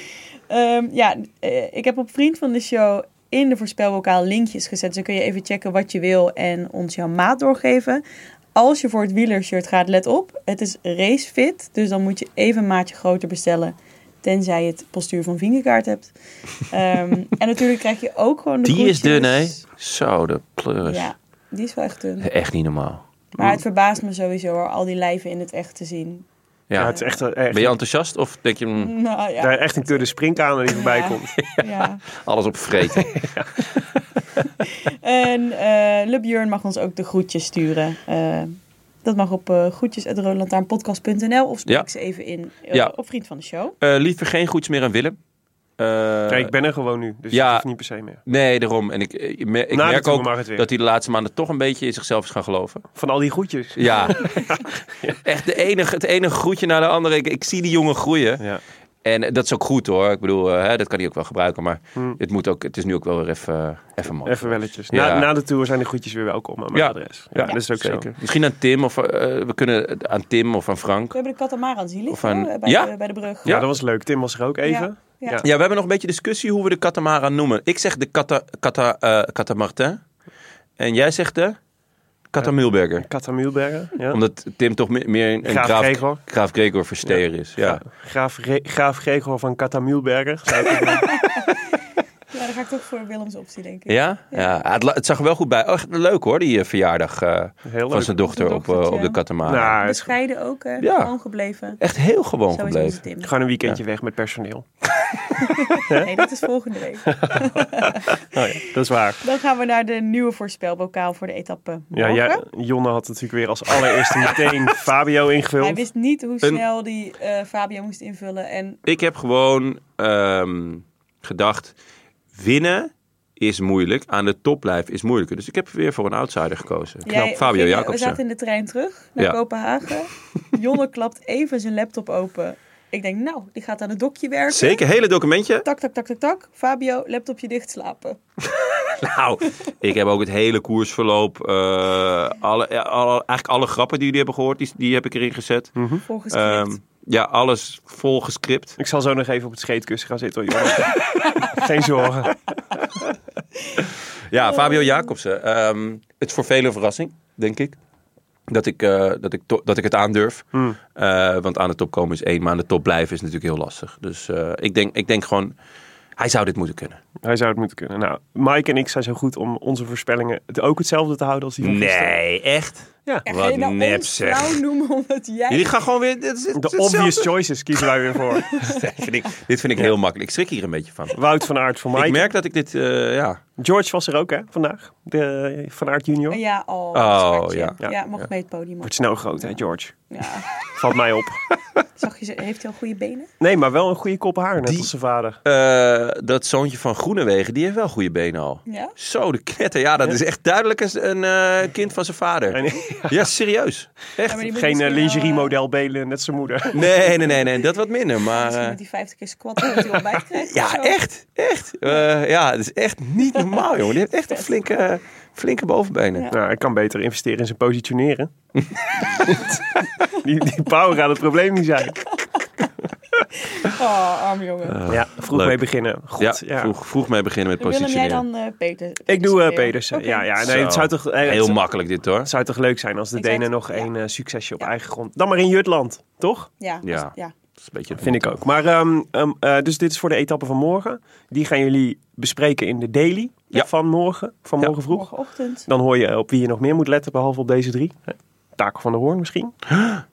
[SPEAKER 4] Ehm, ja, eh, ik heb op vriend van de show in de voorspelbokaal linkjes gezet. Dus dan kun je even checken wat je wil en ons jouw maat doorgeven. Als je voor het wielershirt gaat, let op. Het is racefit, dus dan moet je even een maatje groter bestellen. Tenzij je het postuur van vingerkaart hebt. Ehm, en natuurlijk krijg je ook gewoon de
[SPEAKER 1] Die is dun, hè?
[SPEAKER 4] groetjes.
[SPEAKER 1] Zo, de pleurs.
[SPEAKER 4] Ja, die is wel echt dun.
[SPEAKER 1] Echt niet normaal.
[SPEAKER 4] Maar het verbaast me sowieso hoor, al die lijven in het echt te zien.
[SPEAKER 1] Ja.
[SPEAKER 2] Ja, het is echt, een- echt,
[SPEAKER 1] Ben je enthousiast of denk je mm,
[SPEAKER 4] Nou
[SPEAKER 2] daar
[SPEAKER 4] ja,
[SPEAKER 2] echt een kudde springkamer die voorbij
[SPEAKER 4] Ja.
[SPEAKER 2] komt.
[SPEAKER 4] ja.
[SPEAKER 1] alles op vreten?
[SPEAKER 4] En eh Le Björn mag ons ook de groetjes sturen. Eh, dat mag op eh groetjes.roodlantaarnpodcast.nl of spreek
[SPEAKER 1] Ja.
[SPEAKER 4] ze even in eh,
[SPEAKER 1] Ja.
[SPEAKER 4] op Vriend van de Show.
[SPEAKER 1] Eh, liever geen goeds meer aan Willem. Eh,
[SPEAKER 2] Nee, ik ben er gewoon nu, dus
[SPEAKER 1] ja.
[SPEAKER 2] dat hoeft niet per se meer.
[SPEAKER 1] Nee, daarom. En ik, eh, ik, me- ik
[SPEAKER 2] Na de
[SPEAKER 1] merk
[SPEAKER 2] Tour
[SPEAKER 1] ook
[SPEAKER 2] mag het weer.
[SPEAKER 1] dat hij de laatste maanden toch een beetje in zichzelf is gaan geloven.
[SPEAKER 2] Van al die groetjes.
[SPEAKER 1] Ja. Echt de enige, het ene groetje naar de andere. Ik, ik zie die jongen groeien.
[SPEAKER 2] Ja.
[SPEAKER 1] En eh, dat is ook goed hoor. Ik bedoel, eh, hè, dat kan hij ook wel gebruiken. Maar
[SPEAKER 2] Hm.
[SPEAKER 1] het, moet ook, het is nu ook wel weer even, eh, even man.
[SPEAKER 2] Even welletjes. Na,
[SPEAKER 1] Ja.
[SPEAKER 2] na de tour zijn de groetjes weer welkom aan mijn
[SPEAKER 1] Ja.
[SPEAKER 2] adres. Ja,
[SPEAKER 1] Ja,
[SPEAKER 2] dat is ook
[SPEAKER 1] Zeker.
[SPEAKER 2] zo.
[SPEAKER 1] Misschien aan Tim of eh, we kunnen het aan Tim of aan Frank.
[SPEAKER 4] We hebben de Katamarans hier
[SPEAKER 1] Of
[SPEAKER 4] liggen
[SPEAKER 1] een-
[SPEAKER 4] hoor, bij,
[SPEAKER 1] Ja.
[SPEAKER 4] de, bij de brug.
[SPEAKER 2] Ja.
[SPEAKER 1] Ja.
[SPEAKER 2] dat was leuk. Tim was er ook even.
[SPEAKER 4] Ja.
[SPEAKER 2] Ja.
[SPEAKER 1] Ja, we hebben nog een beetje discussie hoe we de katamaran noemen. Ik zeg de kata, kata, eh, katamartin. En jij zegt de katamulberger.
[SPEAKER 2] Katta Mühlberger. Ja.
[SPEAKER 1] Omdat Tim toch me- meer een, een
[SPEAKER 2] Graaf
[SPEAKER 1] graaf,
[SPEAKER 2] Gregor.
[SPEAKER 1] graaf Gregor versteer is. Ja.
[SPEAKER 2] Graaf, Re- Graaf Gregor van Katta Mühlberger. Zou ik ook wel-
[SPEAKER 4] Ja, daar ga ik toch voor Willems optie, denk ik.
[SPEAKER 1] Ja? ja. het, la- het zag er wel goed bij. Oh, echt leuk hoor, die eh, verjaardag eh,
[SPEAKER 2] Heel
[SPEAKER 1] van
[SPEAKER 2] leuk.
[SPEAKER 1] zijn dochter
[SPEAKER 4] Van
[SPEAKER 1] op,
[SPEAKER 4] zijn
[SPEAKER 1] eh,
[SPEAKER 4] dochtertje.
[SPEAKER 1] op de katamaran.
[SPEAKER 2] Nou, het is
[SPEAKER 4] Bescheiden ook, hè?
[SPEAKER 1] Ja.
[SPEAKER 4] Gewoon gebleven.
[SPEAKER 1] Echt heel gewoon
[SPEAKER 4] Zo is onze
[SPEAKER 1] gebleven.
[SPEAKER 4] Tim.
[SPEAKER 2] gewoon een weekendje weg met personeel.
[SPEAKER 4] Nee, dat is volgende week.
[SPEAKER 2] Oh ja, dat is waar.
[SPEAKER 4] Dan gaan we naar de nieuwe voorspelbokaal voor de etappe
[SPEAKER 2] Ja,
[SPEAKER 4] morgen.
[SPEAKER 2] ja, Jonne had natuurlijk weer als allereerste meteen Fabio
[SPEAKER 4] Hij
[SPEAKER 2] ingevuld.
[SPEAKER 4] wist niet hoe snel die eh, Fabio moest invullen. En
[SPEAKER 1] Ik heb gewoon ehm, gedacht, winnen is moeilijk, aan de top blijven is moeilijker. Dus ik heb weer voor een outsider gekozen.
[SPEAKER 4] Jij-
[SPEAKER 1] Knap, Fabio
[SPEAKER 4] we gingen- We
[SPEAKER 1] Jacobsen.
[SPEAKER 4] zaten in de trein terug naar
[SPEAKER 1] Ja.
[SPEAKER 4] Kopenhagen. Jonne klapt even zijn laptop open. Ik denk, nou, die gaat aan het dokje werken.
[SPEAKER 1] Zeker, hele documentje.
[SPEAKER 4] Tak, tak, tak, tak, tak. Fabio, laptopje dicht slapen.
[SPEAKER 1] Nou, ik heb ook het hele koersverloop, eh, alle, ja, alle- eigenlijk alle grappen die jullie hebben gehoord, die, die heb ik erin gezet.
[SPEAKER 4] Volgens
[SPEAKER 1] Ehm, ja, alles vol gescript.
[SPEAKER 2] Ik zal zo nog even op het scheetkussen gaan zitten hoor, Jonne. Geen zorgen.
[SPEAKER 1] Ja, Fabio Jacobsen. ehm, het is voor velen een verrassing, denk ik. Dat ik, eh, dat ik, to- dat ik het aandurf. Eh, want aan de top komen is één, maar aan de top blijven is natuurlijk heel lastig. Dus eh, ik, denk, ik denk gewoon, hij zou dit moeten kunnen.
[SPEAKER 2] Hij zou het moeten kunnen. Nou, Mike en ik zijn zo goed om onze voorspellingen het ook hetzelfde te houden als die van gisteren.
[SPEAKER 1] Nee, echt?
[SPEAKER 2] Ja.
[SPEAKER 4] Echt,
[SPEAKER 1] wat
[SPEAKER 4] ga je nou
[SPEAKER 1] nep,
[SPEAKER 4] ons
[SPEAKER 1] zeg.
[SPEAKER 4] flauw noemen omdat jij...
[SPEAKER 1] Jullie gaan gewoon weer... Dit is,
[SPEAKER 2] De obvious choices kiezen wij weer voor.
[SPEAKER 1] Dit vind ik, dit vind ik heel makkelijk. Ik schrik hier een beetje van.
[SPEAKER 2] Wout van Aert voor Mike.
[SPEAKER 1] Ik merk dat ik dit, eh, ja...
[SPEAKER 2] George was er ook, hè, vandaag. De, eh, van Aert junior.
[SPEAKER 4] Oh, Ja, al.
[SPEAKER 1] Oh,
[SPEAKER 4] ja.
[SPEAKER 1] ja.
[SPEAKER 4] ja.
[SPEAKER 2] Ja.
[SPEAKER 4] mag mee het podium op.
[SPEAKER 2] Wordt snel groot, hè, George.
[SPEAKER 4] Ja.
[SPEAKER 2] Valt mij op.
[SPEAKER 4] Zag je, ze- heeft hij al goede benen?
[SPEAKER 2] Nee, maar wel een goede kop haar, net
[SPEAKER 1] Die-
[SPEAKER 2] als zijn vader.
[SPEAKER 1] Eh, dat zoontje van Groenewegen, die heeft wel goede benen al.
[SPEAKER 4] Ja?
[SPEAKER 1] Zo, de knetter. Ja, dat is echt duidelijk eens een eh, kind van zijn vader.
[SPEAKER 2] En,
[SPEAKER 1] Ja, serieus.
[SPEAKER 4] Ja, maar
[SPEAKER 1] Echt.
[SPEAKER 4] die moet
[SPEAKER 2] geen
[SPEAKER 4] misschien
[SPEAKER 2] uh,
[SPEAKER 4] wel, eh,
[SPEAKER 2] lingerie-model belen, net zijn moeder.
[SPEAKER 1] Nee, nee, nee, nee, dat wat minder. Maar
[SPEAKER 4] Misschien
[SPEAKER 1] eh,
[SPEAKER 4] met die 50 keer squat dat hij ontbijt krijgt. of
[SPEAKER 1] ja,
[SPEAKER 4] zo.
[SPEAKER 1] echt, echt. Eh, ja, het is echt niet normaal, jongen. Die heeft echt een
[SPEAKER 4] Vet.
[SPEAKER 1] flinke, flinke bovenbenen.
[SPEAKER 4] Ja.
[SPEAKER 1] Ja.
[SPEAKER 2] Nou, hij kan beter investeren in zijn positioneren. die, die power gaat het probleem niet zijn.
[SPEAKER 4] Oh, arme
[SPEAKER 1] Eh,
[SPEAKER 4] jongen.
[SPEAKER 2] ja, vroeg
[SPEAKER 1] leuk.
[SPEAKER 2] mee beginnen. Goed, ja.
[SPEAKER 1] vroeg, vroeg mee beginnen met
[SPEAKER 4] Willem, jij
[SPEAKER 1] positioneren.
[SPEAKER 4] dan eh, Peter?
[SPEAKER 2] Ik doe eh,
[SPEAKER 4] Peter.
[SPEAKER 2] Pedersen.
[SPEAKER 4] Oké.
[SPEAKER 2] Ja, ja, nee, het
[SPEAKER 1] Zo.
[SPEAKER 2] zou toch... eh,
[SPEAKER 1] Heel
[SPEAKER 2] het,
[SPEAKER 1] makkelijk dit, hoor.
[SPEAKER 2] het zou toch leuk zijn als de
[SPEAKER 4] Ik zou
[SPEAKER 2] Denen nog
[SPEAKER 4] het- ja.
[SPEAKER 2] één eh, succesje op eigen grond... Dan maar in Jutland, toch?
[SPEAKER 4] Ja,
[SPEAKER 1] Ja.
[SPEAKER 4] als- ja.
[SPEAKER 1] Dat is een beetje het
[SPEAKER 2] Vind ik
[SPEAKER 1] motto.
[SPEAKER 2] ook. Maar, ehm, ehm, eh, dus dit is voor de etappe van morgen. Die gaan jullie bespreken in de daily eh,
[SPEAKER 1] Ja.
[SPEAKER 2] van morgen, van
[SPEAKER 1] Ja.
[SPEAKER 2] morgen vroeg.
[SPEAKER 4] Morgenochtend.
[SPEAKER 2] eh, Dan hoor je op wie je nog meer moet letten, behalve op deze drie. Taco van de Hoorn misschien?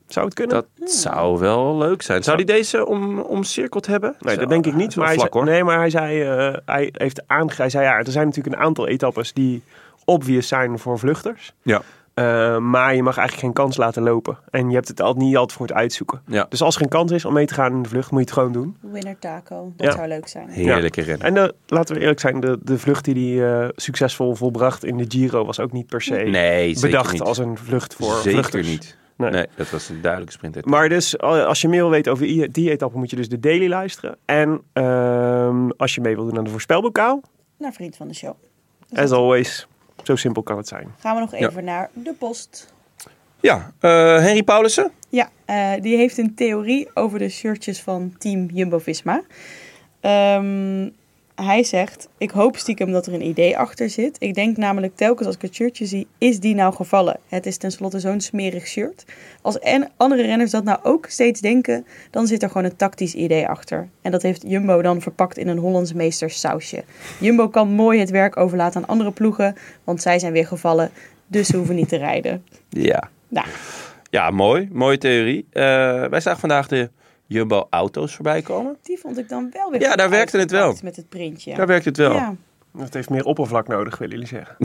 [SPEAKER 2] Zou het kunnen?
[SPEAKER 1] Dat
[SPEAKER 4] Hmm.
[SPEAKER 1] zou wel leuk zijn. Zou die deze om, omcirkeld hebben?
[SPEAKER 2] nee,
[SPEAKER 1] Zo,
[SPEAKER 2] dat denk ik
[SPEAKER 1] het
[SPEAKER 2] niet.
[SPEAKER 1] is
[SPEAKER 2] Maar
[SPEAKER 1] wel
[SPEAKER 2] hij,
[SPEAKER 1] vlak,
[SPEAKER 2] zei,
[SPEAKER 1] hoor.
[SPEAKER 2] nee, maar hij zei, eh, hij heeft aangegeven, ja, er zijn natuurlijk een aantal etappes die obvious zijn voor vluchters.
[SPEAKER 1] Ja.
[SPEAKER 2] Eh, maar je mag eigenlijk geen kans laten lopen. En je hebt het altijd niet altijd voor het uitzoeken.
[SPEAKER 1] ja.
[SPEAKER 2] Dus als er geen kans is om mee te gaan in de vlucht, moet je het gewoon doen.
[SPEAKER 4] Winner taco. Dat
[SPEAKER 2] Ja.
[SPEAKER 4] zou leuk zijn.
[SPEAKER 1] Heerlijke rennen.
[SPEAKER 2] En eh, laten we eerlijk zijn, de, de vlucht die hij eh, succesvol volbracht in de Giro was ook niet per se
[SPEAKER 1] Nee, zeker
[SPEAKER 2] bedacht
[SPEAKER 1] niet.
[SPEAKER 2] als een vlucht voor
[SPEAKER 1] zeker
[SPEAKER 2] vluchters.
[SPEAKER 1] niet.
[SPEAKER 2] Nee.
[SPEAKER 1] Nee. dat was een duidelijke sprint.
[SPEAKER 2] Maar dus eh, als je meer wil weten over i- die etappe, moet je dus de daily luisteren. En ehm, als je mee wil doen aan de voorspelbokaal,
[SPEAKER 4] Naar vriend van de show.
[SPEAKER 2] as always, zo simpel kan het zijn.
[SPEAKER 4] Gaan we nog
[SPEAKER 1] Ja.
[SPEAKER 4] even naar de post.
[SPEAKER 1] Ja, eh, Henry Paulussen.
[SPEAKER 4] Ja, eh, die heeft een theorie over de shirtjes van team Jumbo-Visma. Ehm, hij zegt, ik hoop stiekem dat er een idee achter zit. Ik denk namelijk telkens als ik het shirtje zie, is die nou gevallen? Het is tenslotte zo'n smerig shirt. Als en andere renners dat nou ook steeds denken, dan zit er gewoon een tactisch idee achter. En dat heeft Jumbo dan verpakt in een Hollands meesters sausje. Jumbo kan mooi het werk overlaten aan andere ploegen, want zij zijn weer gevallen. Dus ze hoeven niet te rijden.
[SPEAKER 1] Ja.
[SPEAKER 4] Nou,
[SPEAKER 1] Ja, mooi. Mooie theorie. Eh, wij zagen vandaag de Jumbo Auto's voorbij komen.
[SPEAKER 4] Die vond ik dan wel weer.
[SPEAKER 1] Ja,
[SPEAKER 4] goed
[SPEAKER 1] daar werkte het wel.
[SPEAKER 4] uitgepakt Met het printje.
[SPEAKER 1] Daar werkt het wel. Ja.
[SPEAKER 4] Ja,
[SPEAKER 2] Het heeft meer oppervlak nodig, willen jullie zeggen.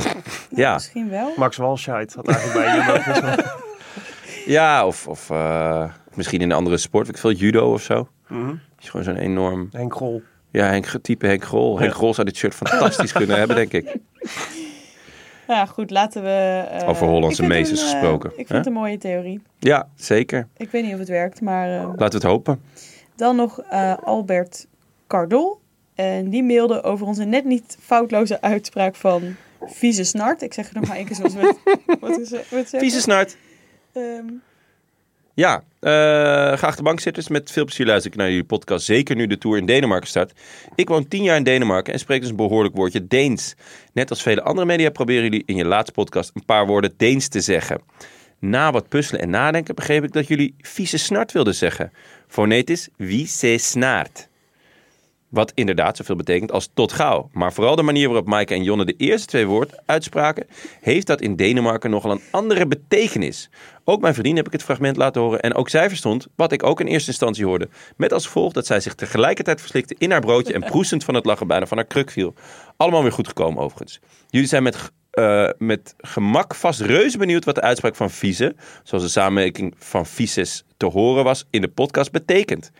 [SPEAKER 1] Ja,
[SPEAKER 4] misschien wel.
[SPEAKER 2] Max Walscheid had eigenlijk bij Jumbo best wel-
[SPEAKER 1] of, of eh, misschien in een andere sport. Weet Ik veel judo of zo.
[SPEAKER 2] Mhm.
[SPEAKER 1] Dat is gewoon zo'n enorm...
[SPEAKER 2] Henk Grol.
[SPEAKER 1] Ja, Henk, type Henk Grol. Henk Grol zou dit shirt fantastisch kunnen hebben, denk ik.
[SPEAKER 4] Ja, goed, laten we. eh,
[SPEAKER 1] Over Hollandse
[SPEAKER 4] ik vind
[SPEAKER 1] meesters
[SPEAKER 4] een, eh,
[SPEAKER 1] gesproken,
[SPEAKER 4] Ik vind
[SPEAKER 1] hè?
[SPEAKER 4] het een mooie theorie.
[SPEAKER 1] Ja, zeker.
[SPEAKER 4] Ik weet niet of het werkt, maar. eh,
[SPEAKER 1] Laten we het hopen.
[SPEAKER 4] dan nog eh, Albert Cardol. En die mailde over onze net niet foutloze uitspraak van vieze snart. Ik zeg het nog maar één keer zoals we het, wat is, het- wat zeggen.
[SPEAKER 1] Vieze snart.
[SPEAKER 4] Ehm,
[SPEAKER 1] Ja, eh graag de bankzitters. Met veel plezier luister ik naar jullie podcast. Zeker nu de tour in Denemarken start. Ik woon tien jaar in Denemarken en spreek dus een behoorlijk woordje Deens. Net als vele andere media proberen jullie in je laatste podcast een paar woorden Deens te zeggen. Na wat puzzelen en nadenken begreep ik dat jullie vieze snart wilden zeggen. Fonetisch vieze snaart. Wat inderdaad zoveel betekent als tot gauw. Maar vooral de manier waarop Maaike en Jonne de eerste twee woorden uitspraken, heeft dat in Denemarken nogal een andere betekenis. Ook mijn vriendin heb ik het fragment laten horen en ook zij verstond wat ik ook in eerste instantie hoorde. Met als gevolg dat zij zich tegelijkertijd verslikte in haar broodje en proestend van het lachen bijna van haar kruk viel. Allemaal weer goed gekomen overigens. Jullie zijn met, eh, met gemak vast reuze benieuwd wat de uitspraak van vieze, zoals de samenwerking van vices te horen was, in de podcast betekent.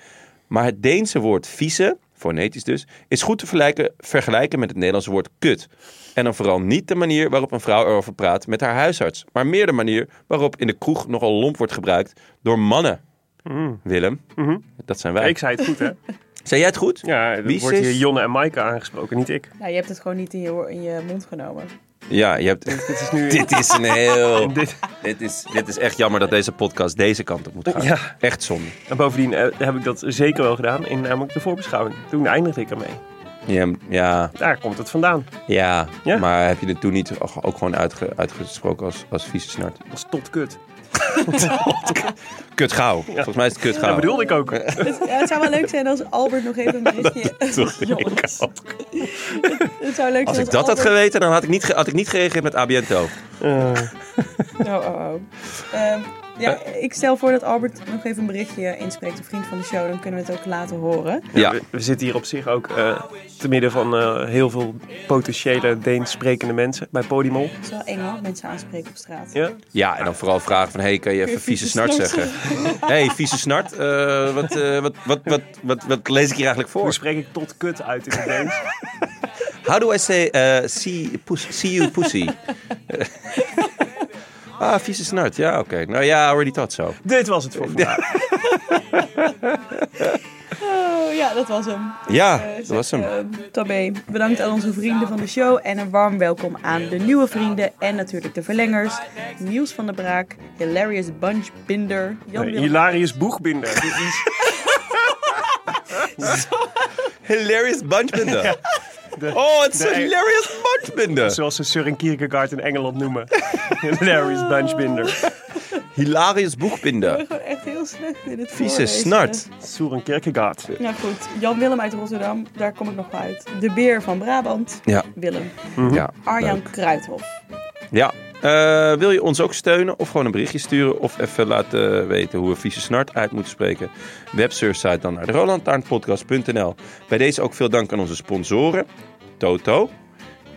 [SPEAKER 1] Maar het Deense woord vieze, fonetisch dus, is goed te vergelijken, vergelijken met het Nederlandse woord kut. En dan vooral niet de manier waarop een vrouw erover praat met haar huisarts, maar meer de manier waarop in de kroeg nogal lomp wordt gebruikt door mannen. Willem, dat zijn wij.
[SPEAKER 2] Hmm. Mhm. Ik zei het goed, hè?
[SPEAKER 1] Zei jij het goed?
[SPEAKER 2] Ja, er
[SPEAKER 1] Wie
[SPEAKER 2] wordt
[SPEAKER 1] is-
[SPEAKER 2] hier Jonne en Maaike aangesproken, niet ik.
[SPEAKER 4] nou, je hebt het gewoon niet in je, oor- in je mond genomen.
[SPEAKER 1] Ja, je hebt.
[SPEAKER 2] Dit is nu...
[SPEAKER 1] Dit is een heel.
[SPEAKER 2] dit-
[SPEAKER 1] dit, is, dit is echt jammer dat deze podcast deze kant op moet gaan.
[SPEAKER 2] Ja.
[SPEAKER 1] Echt zonde.
[SPEAKER 2] En bovendien eh, heb ik dat zeker wel gedaan in namelijk de voorbeschouwing. Toen eindigde ik ermee.
[SPEAKER 1] Ja, ja,
[SPEAKER 2] Daar komt het vandaan.
[SPEAKER 1] ja.
[SPEAKER 2] Ja.
[SPEAKER 1] maar heb je het toen niet ook gewoon uitge- uitgesproken als, als vieze snart?
[SPEAKER 2] Dat is tot kut.
[SPEAKER 1] Kut gauw. Volgens mij is het kut gauw.
[SPEAKER 2] Dat bedoelde ik ook.
[SPEAKER 4] Het, ja, het zou wel leuk zijn als Albert nog even een berichtje... Jongens. Het zou leuk
[SPEAKER 1] Als
[SPEAKER 4] zijn
[SPEAKER 1] ik dat had
[SPEAKER 4] Albert-
[SPEAKER 1] geweten, dan had ik niet, ge- had ik niet gereageerd met ABNTO.
[SPEAKER 2] Eh,
[SPEAKER 4] Oh, oh, oh. Ehm, ja,
[SPEAKER 1] Eh.
[SPEAKER 4] ik stel voor dat Albert nog even een berichtje inspreekt, een vriend van de show. Dan kunnen we het ook laten horen.
[SPEAKER 1] Ja.
[SPEAKER 2] we, we zitten hier op zich ook eh, te midden van eh, heel veel potentiële Deens sprekende mensen bij Podimol.
[SPEAKER 4] Het is wel eng hoor, mensen aanspreken op straat.
[SPEAKER 2] Ja?
[SPEAKER 1] Ja, en dan vooral vragen van, hey, kan je even vieze snart zeggen? hey, vieze snart, eh, wat, eh, wat, wat, wat, wat, wat lees ik hier eigenlijk
[SPEAKER 2] Hoe
[SPEAKER 1] voor?
[SPEAKER 2] spreek ik tot kut uit in het Deens?
[SPEAKER 1] How do I say, eh, see, pus- see you pussy? ah, vieze snart, ja, oké. Nou ja, already thought so.
[SPEAKER 2] Dit was het voor vandaag.
[SPEAKER 4] Oh, ja, dat was hem.
[SPEAKER 1] Ja,
[SPEAKER 4] Eh,
[SPEAKER 1] dat
[SPEAKER 4] zeg,
[SPEAKER 1] was hem.
[SPEAKER 4] ehm, Tabé, bedankt aan onze vrienden van de show en een warm welkom aan de nieuwe vrienden en natuurlijk de verlengers. Niels van der Braak, Hilarious Bunch Binder, Jan
[SPEAKER 2] Nee,
[SPEAKER 4] Willem-
[SPEAKER 2] Hilarius Boegbinder. Dit is
[SPEAKER 1] Hilarious bunchbinder. Oh, het is een
[SPEAKER 2] de-
[SPEAKER 1] hilarious bunchbinder.
[SPEAKER 2] zoals ze Søren Kierkegaard in Engeland noemen. Hilarious Bunchbinder.
[SPEAKER 1] Hilarious
[SPEAKER 4] Ik
[SPEAKER 1] boekbinder.
[SPEAKER 4] ben gewoon Oh, echt heel slecht in het
[SPEAKER 1] Vieze
[SPEAKER 4] voorlezen.
[SPEAKER 1] snart.
[SPEAKER 2] Søren Kierkegaard.
[SPEAKER 4] Nou goed, Jan Willem uit Rotterdam, daar kom ik nog wel uit. De Beer van Brabant,
[SPEAKER 1] Ja,
[SPEAKER 4] Willem.
[SPEAKER 1] ja.
[SPEAKER 4] Arjan
[SPEAKER 1] leuk.
[SPEAKER 4] Kruithof.
[SPEAKER 1] Ja, Eh, wil je ons ook steunen of gewoon een berichtje sturen of even laten weten hoe we vieze snart uit moeten spreken? Websurfsite dan naar rolandtaarnpodcast.nl. Bij deze ook veel dank aan onze sponsoren Toto,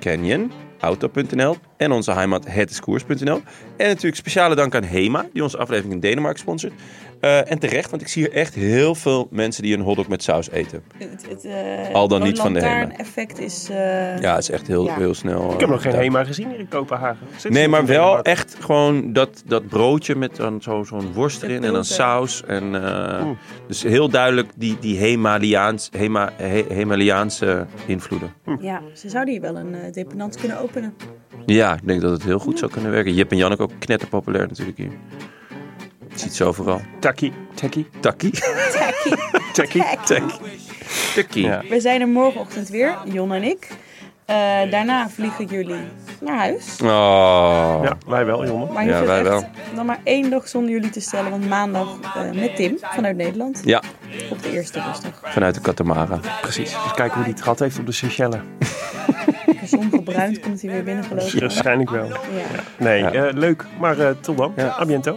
[SPEAKER 1] Canyon, Auto.nl en onze heimat hetiskoers.nl. En natuurlijk speciale dank aan HEMA, die onze aflevering in Denemarken sponsort. Eh, en terecht, want ik zie hier echt heel veel mensen die een hotdog met saus eten.
[SPEAKER 4] Het, het, eh,
[SPEAKER 1] Al dan niet van de
[SPEAKER 4] Het
[SPEAKER 1] HEMA.
[SPEAKER 4] effect is... eh,
[SPEAKER 1] Ja, het is echt heel,
[SPEAKER 4] Ja.
[SPEAKER 1] heel snel. eh,
[SPEAKER 2] Ik heb nog geen
[SPEAKER 1] HEMA.
[SPEAKER 2] HEMA gezien hier in Kopenhagen. Zit ze
[SPEAKER 1] Nee,
[SPEAKER 2] nog
[SPEAKER 1] maar
[SPEAKER 2] in
[SPEAKER 1] wel
[SPEAKER 2] Denemarken?
[SPEAKER 1] echt gewoon dat, dat broodje met dan zo- zo'n worst
[SPEAKER 4] De
[SPEAKER 1] erin en dan
[SPEAKER 4] pulper.
[SPEAKER 1] saus. En, eh, Dus heel duidelijk die, die Hemaliaans, Hema, He- Hemaliaanse invloeden.
[SPEAKER 4] Ja, ze zouden hier wel een eh dependant kunnen openen.
[SPEAKER 1] Ja, ik denk dat het heel goed zou kunnen werken. Jip en Janneke ook knetterpopulair natuurlijk hier. Je ziet ze overal.
[SPEAKER 2] Takkie. Takkie.
[SPEAKER 1] Takkie.
[SPEAKER 2] Takkie.
[SPEAKER 1] Takkie.
[SPEAKER 2] Ja.
[SPEAKER 4] We zijn er morgenochtend weer, Jon en ik. Eh, daarna vliegen jullie naar huis.
[SPEAKER 1] Oh.
[SPEAKER 2] Ja, wij wel, jongen.
[SPEAKER 4] Maar je
[SPEAKER 1] Ja,
[SPEAKER 4] hoeft
[SPEAKER 1] wij
[SPEAKER 4] echt dan maar één dag zonder jullie te stellen. Want maandag eh, met Tim vanuit Nederland
[SPEAKER 1] Ja,
[SPEAKER 4] op de eerste dus rustdag.
[SPEAKER 1] vanuit de Katamara.
[SPEAKER 2] Precies. Dus kijken hoe die het gehad heeft op de Seychellen.
[SPEAKER 4] Gezond gebruind Dus komt hij weer binnengelopen.
[SPEAKER 2] Waarschijnlijk wel.
[SPEAKER 4] Ja.
[SPEAKER 2] Nee,
[SPEAKER 1] Ja.
[SPEAKER 2] eh, leuk. Maar eh, tot dan. A biento.